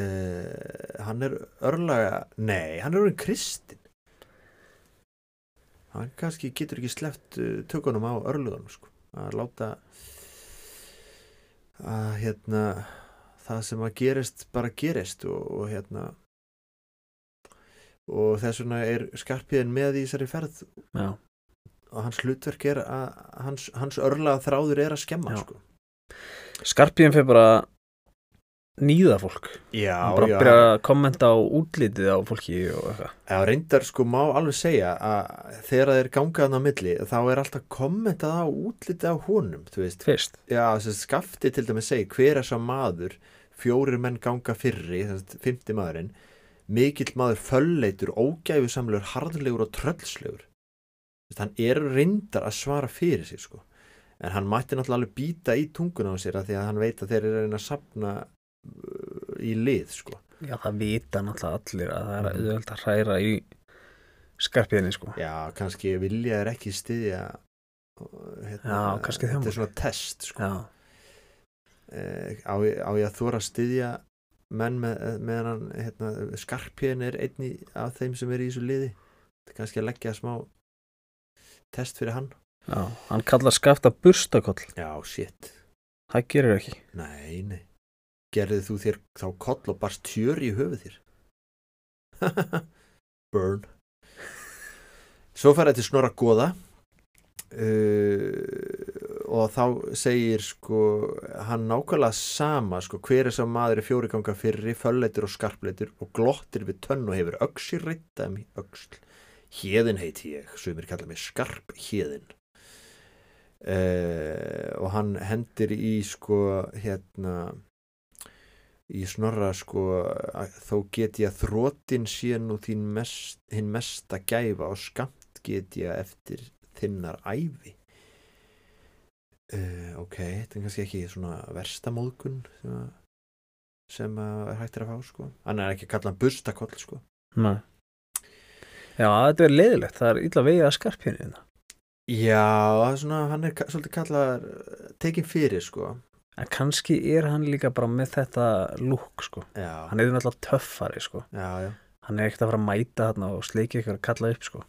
Speaker 2: uh, hann er örlaga nei, hann er orðin kristinn hann kannski getur ekki sleppt uh, tökunum á örlugunum sko. að láta að hérna það sem að gerist bara gerist og, og hérna og þess vegna er skarpiðin með í þessari ferð
Speaker 1: Já
Speaker 2: og hans hlutverk er að hans, hans örlaða þráður er að skemma
Speaker 1: Já.
Speaker 2: sko.
Speaker 1: Skarpjörn fyrir bara að nýða fólk
Speaker 2: já,
Speaker 1: Hann bara
Speaker 2: já,
Speaker 1: byrjar að kommenta á útlitið á fólki og eitthvað
Speaker 2: já, reyndar sko má alveg segja að þegar þeir ganga hann á milli þá er alltaf kommentað á útlitið á honum þú veist,
Speaker 1: Fyrst
Speaker 2: já, sem skafti til dæmis segi hver er sá maður fjórir menn ganga fyrri, þess að fymti maðurinn mikill maður fölleitur ógæfusamlegur, harðlegur og tröllslegur Þú veist, hann er reyndar að svara fyrir sig sko en hann mætti náttúrulega alveg býta í tunguna á sér af því að hann veit að þeir eru að reyna að sapna uh, í lið sko
Speaker 1: Já, það vita náttúrulega allir að það er
Speaker 2: Mhm.
Speaker 1: auðvöld að hræra í skarpiðinni sko
Speaker 2: Já, kannski vilja er ekki styðja hérna,
Speaker 1: Já, kannski
Speaker 2: þetta
Speaker 1: þjómar.
Speaker 2: er svona test sko.
Speaker 1: já,
Speaker 2: Eh, á, ég- á ég að þóra að styðja menn með, með hann hérna, skarpiðin er einni af þeim sem er í þessu liði þetta er kannski að leggja smá test fyrir hann
Speaker 1: já Hann kallar skafta burstakoll
Speaker 2: já, shit,
Speaker 1: Það gerir ekki
Speaker 2: nei, nei gerðið þú þér þá koll og barst tjör í höfuð þér <laughs> burn svo fara til Snorra Goða uh, og þá segir sko hann nákvæmlega sama sko hver er sá maður í fjóri ganga fyrri fölleitur og skarpleitur og glottir við tönn og hefur öxi rittaðum í öxl hérðin heiti ég, sumir kalla mig skarp hérðin uh, og hann hendir í sko hérna í snorra sko að, þó get ég að þrótin sé nú þín mest, hinn mesta gæfa og skamt get ég eftir þinnar æfi uh, ok, þetta er kannski ekki svona versta móðgun sem að, sem að er hægt er að fá sko hann er ekki að kalla hann burstakoll sko
Speaker 1: Nei. Já, þetta er leiðilegt Það er illa vegið að hérna. skarpjönu
Speaker 2: já, það er svona, hann er ka- svolítið kallar tekin fyrir sko
Speaker 1: En kannski er hann líka bara með þetta lúk sko
Speaker 2: já,
Speaker 1: Hann er náttúrulega töffari sko
Speaker 2: já, já
Speaker 1: Hann er ekkert að fara að mæta þarna og sleiki ykkur að kalla upp sko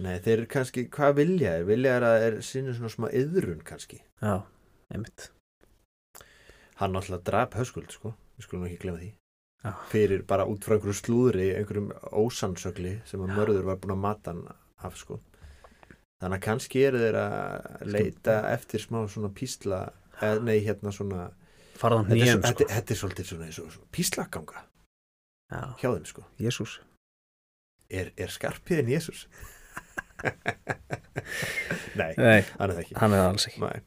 Speaker 2: Nei, þeir kannski, hvað vilja er? Vilja er að þeir sinni svona smá yðrun kannski.
Speaker 1: Já, einmitt
Speaker 2: Hann alltaf draf höskuld, sko. Við skulum nú ekki glemja því.
Speaker 1: Já.
Speaker 2: Fyrir bara út frá einhverjum slúðri, einhverjum ósannsögli sem að
Speaker 1: Já.
Speaker 2: mörður var búin að mata hann af, sko. Þannig að kannski eru þeir að leita eftir smá svona písla, eða nei, hérna svona,
Speaker 1: Farðan
Speaker 2: þetta er,
Speaker 1: nýjum
Speaker 2: svo,
Speaker 1: sko
Speaker 2: þetta, þetta er svolítið svona, svona, svona píslaganga
Speaker 1: Já,
Speaker 2: hjá þeim, sko.
Speaker 1: Jésús
Speaker 2: Er, er skarpiðin Jésús? <laughs> nei,
Speaker 1: Nei,
Speaker 2: hann er það ekki.
Speaker 1: hann er það alls ekki
Speaker 2: Nei.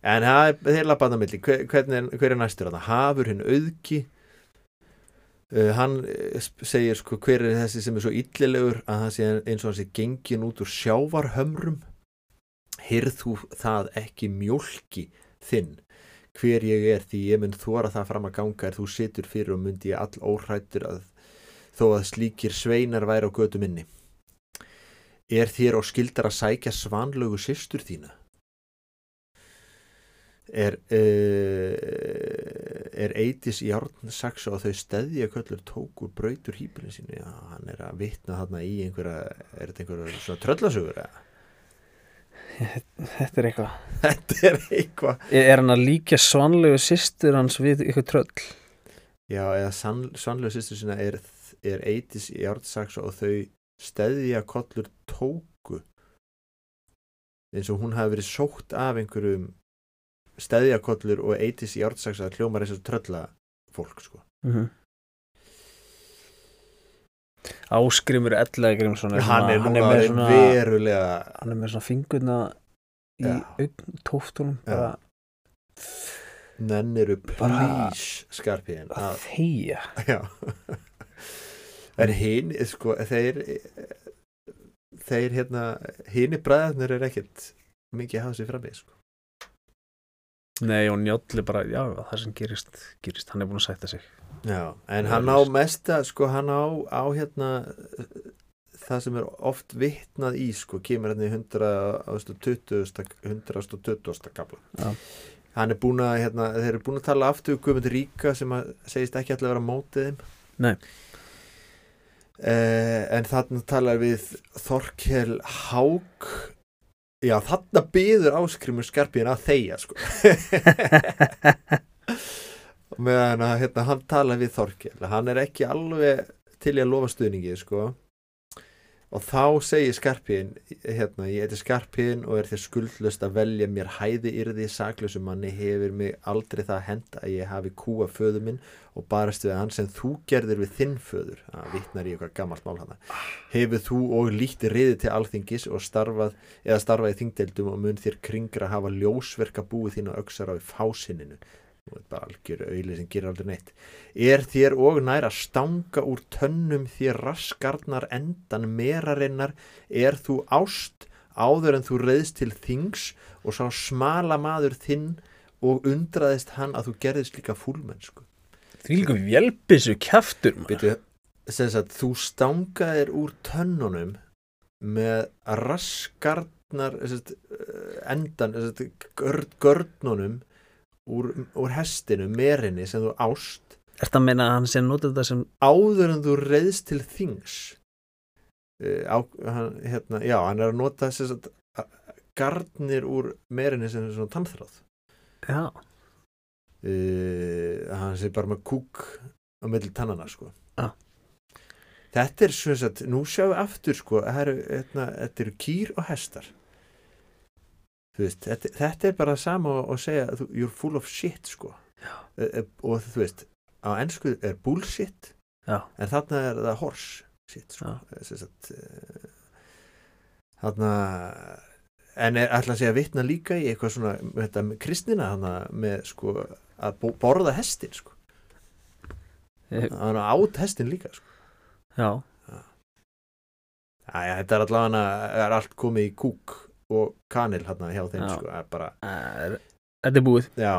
Speaker 2: En það er þeir lappaðna milli hver, hvernig, hver er næstur þarna? Hafur hinn auðki uh, Hann eh, sp- segir sko hver er þessi sem er svo illilegur að það sé eins og hann sé gengin út úr sjávarhömrum Hyrð þú það ekki mjólki þinn hver ég er því ég mun þóra það fram að ganga er þú situr fyrir og myndi ég all óhrættur að þó að slíkir sveinar væri á götu minni Er þér og skildar að sækja svanlögu systur þína? er, uh, er eitis járn saksa og þau steðja köllur tókur brautur hýpilin sínu já, hann er að vitna þarna í einhverja er þetta einhverja svona tröllasögur eða? <laughs>
Speaker 1: Þetta er eitthvað
Speaker 2: þetta er eitthvað
Speaker 1: Er hann að líka svanlegu systur hans við ykkur tröll?
Speaker 2: já, eða sannlega sýstur sína er, er eitis járn saksa og þau steðja köllur tóku eins og hún hafi verið sótt af einhverjum steðja köllur og eitis járn saksa hljómar eins og tröllafólk sko
Speaker 1: Mm Áskrimur Ellagrimsson
Speaker 2: hann er
Speaker 1: hann
Speaker 2: núna
Speaker 1: er með
Speaker 2: orðinn
Speaker 1: svona,
Speaker 2: verulega
Speaker 1: hann er með svona fingurna í
Speaker 2: Já.
Speaker 1: augn tóftunum
Speaker 2: Já.
Speaker 1: bara
Speaker 2: nenniru
Speaker 1: Bara-
Speaker 2: plís skarpiðin
Speaker 1: að
Speaker 2: að, <laughs>
Speaker 1: þeia
Speaker 2: já en hinn, sko, þeir þeir hérna hinn er bræðarnir er ekkert mikið að hafa sér frammi, sko
Speaker 1: Nei og njóttli bara, já það sem gerist, gerist hann er búin að sætta sig
Speaker 2: já, en
Speaker 1: Já,
Speaker 2: hann á
Speaker 1: víst.
Speaker 2: mesta, sko, hann á á hérna það sem er oft vitnað í, sko kemur hérna í 120 120. kapla
Speaker 1: Já.
Speaker 2: hann er búin að, hérna, þeir eru búin að tala aftur um Guðmund Ríka sem að segist ekki alltaf að vera á mótið þeim
Speaker 1: Nei.
Speaker 2: Eh, en þarna talar við Þorkel Hák já þarna byður áskrimur skarpiðin að þeia sko Og meðan að hérna, hann talar við Þorkel hann er ekki alveg til í að lofa stuðningi sko og þá segir skarpiðin hérna, ég heiti skarpiðin og er þér skuldlust að velja mér hæði yrði saklausum manni hefur mig aldrei það hend að ég hafi kúa föður minn og barast við hann sem þú gerðir við þinn föður að vitnar í eitthvað gammalt mál hana hefur þú og líkt riði til alþingis og starfað eða starfað í þingdeldum og mun þér kringra hafa ljósverka búið þín og öksar á í fásinninu og þetta er bara algjör auðli sem gerir aldrei neitt er þér og nær að stanga úr tönnum þér raskarnar endan merarinnar er þú ást áður en þú reyðst til þings og sá smala maður þinn og undraðist hann að þú gerðist líka fúlmennsku
Speaker 1: Því líka vélbissu kjaftur maður.
Speaker 2: Býtu, sem sagt, þú stangaðir úr tönnunum með raskarn hortnar sest, endan sest, görd, gördnunum úr, úr hestinu, merinni sem þú ást
Speaker 1: Ertu að meina að hann sé að nota þetta sem
Speaker 2: áður en þú reyðst til þings uh, á, hann, hérna, já, hann er að nota sem sagt, a- garnir úr merinni sem er svona tannþráð
Speaker 1: Já,
Speaker 2: uh, hann sé bara með kúk á milli tannana sko
Speaker 1: Já.
Speaker 2: þetta er svo að nú sjáum við aftur sko það eru, hérna, þetta eru kýr og hestar þú veist þetta, þetta er bara sama og- og segja þú- you're full of shit sko uh, og þú veist á ennsku er bullshit
Speaker 1: Já.
Speaker 2: en þarna er það horse shit sko
Speaker 1: Já.
Speaker 2: Eh, sem sagt, uh, þarna en er alltaf að segja að vitna líka í eitthvað svona þetta, með kristnina þarna með sko að bo- borða hestin sko
Speaker 1: Ég-
Speaker 2: hann át hestin líka sko
Speaker 1: já
Speaker 2: Æja, þetta er allavega er allt komið í kúk og kanil hérna hjá þeim
Speaker 1: Já.
Speaker 2: sko að bara,
Speaker 1: er, Þetta er búið
Speaker 2: já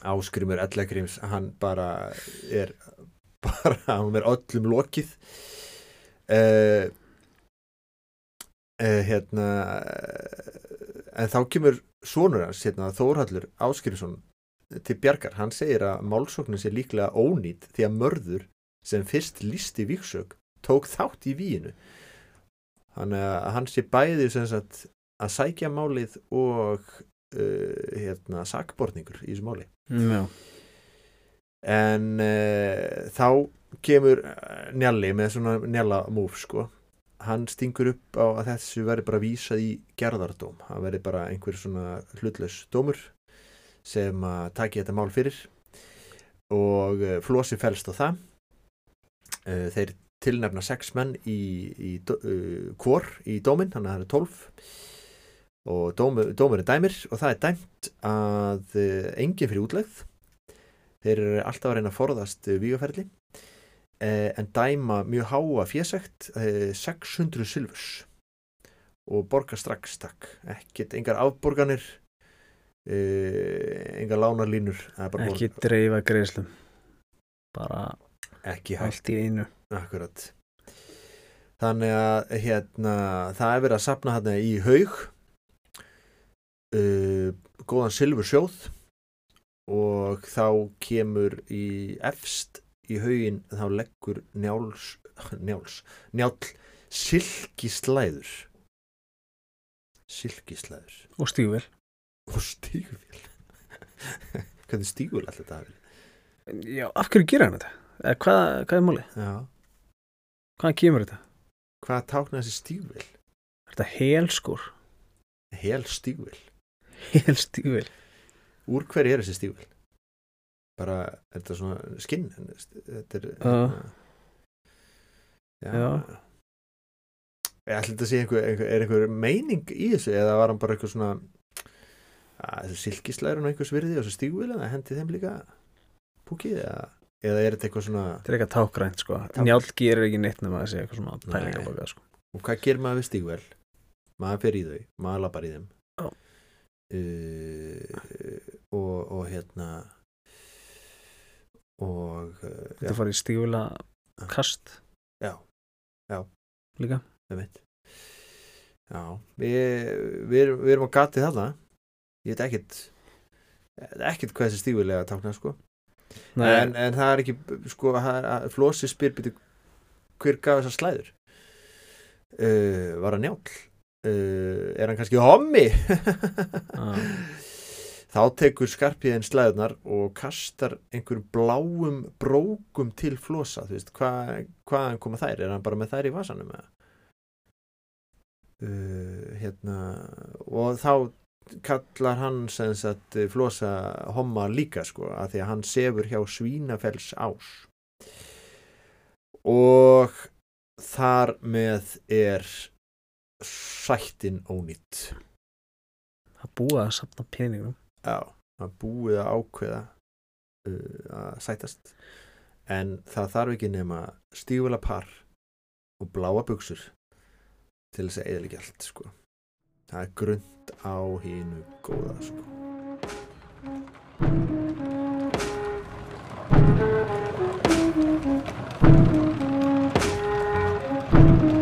Speaker 2: Áskrimur Ellagrims hann bara er <laughs> bara, hann er öllum lokið uh, uh, hérna eh, en þá kemur sonur hans, hérna, Þórhallur Áskrimsson til bjargar, hann segir að málsóknin sé líklega ónýtt því að mörður sem fyrst lísti viksög tók þátt í víinu þannig að hann sé bæði sem sagt að sækja málið og uh, hérna sakborningur í þessu máli
Speaker 1: Já,
Speaker 2: en uh, þá kemur eh, njalli með svona njalla múf sko hann stingur upp á að þessu verði bara vísað í gerðardóm, hann verði bara einhver svona hlutlaus dómur sem að taki þetta mál fyrir og uh, flosi fælst á það uh, þeir tilnefna sex menn í, í uh, kvor í dóminn, þannig að það eru tólf og dómur, dómur er dæmir og það er dæmt að uh, engin fyrir útlegð þeir eru alltaf að reyna að forðast vígaferli eh, en dæma mjög háa fésækt eh, 600 silfurs og borga strax takk ekkert, engar afborganir eh, engar lánarlínur það er bara
Speaker 1: ekki
Speaker 2: borga-
Speaker 1: dreifa greiðslum Bara
Speaker 2: ekki hægt
Speaker 1: allt í einu
Speaker 2: Akkurat Þannig að hérna það er verið að sapna hérna í haug uh, góðan silfursjóð og þá kemur í efst í haugin þá leggur njáls <laughs> njáls, njál silkislæður silkislæður
Speaker 1: Og stígvel
Speaker 2: og stígvél <laughs> hvernig stígvél alltaf þetta hafi
Speaker 1: Já, af hverju gera hann þetta? Eða, hvað, hvað er máli?
Speaker 2: Já,
Speaker 1: Hvaðan kemur þetta?
Speaker 2: hvað tákna þessi stígvél?
Speaker 1: Er þetta helskur? <laughs>
Speaker 2: Hel stígvél
Speaker 1: Helstígvel
Speaker 2: úr hverju er þessi stígvél bara, er þetta svona skinn en st- þetta er hérna,
Speaker 1: Já.
Speaker 2: já,
Speaker 1: Já.
Speaker 2: Ég ætla þetta að sé einhver, einhver, er einhver meining í þessu eða var hann bara eitthvað svona að þessu silkislæður og einhvers virði og þessu stígvél að hendi þeim líka púkið eða, eða er þetta eitthvað svona
Speaker 1: Þetta er eitthvað tákrænt sko
Speaker 2: Ták-
Speaker 1: Njáll gerir ekki neitt nema að segja eitthvað svona
Speaker 2: Nei.
Speaker 1: pælingar baka sko.
Speaker 2: og hvað gerir maður við stígvél maður fer í þau, maður lappar í þeim
Speaker 1: Já.
Speaker 2: uh, og, og hérna og uh,
Speaker 1: Þetta farið í stígvela kast
Speaker 2: Já. Já.
Speaker 1: Líka
Speaker 2: einmitt. Já, við, við, erum- við erum á gatið þarna ég veit ekkit ekkit hvað þessi stífilega tákna sko. en, en það er ekki sko, það er að- Flósi spyr byrju, hver gaf þessar slæður uh, var hann njáll uh, er hann kannski hommi <laughs> þá tekur skarpiðin slæðunar og kastar einhverjum bláum brókum til flosa þú veist, hva, hvaðan koma þær er hann bara með þær í vasanum eða? uh, hérna og þá kallar hann sem sagt eh, flosa homma líka sko, að því að hann sefur hjá svínafells ás og þar með er sættin ónýtt
Speaker 1: Það búa að safna peningum
Speaker 2: Já, það er búið að ákveða uh, að sætast en það þarf ekki nema stígulega par og bláa buksur til þess að eðalega allt sko. það er grund á hínu góða sko.
Speaker 3: Thank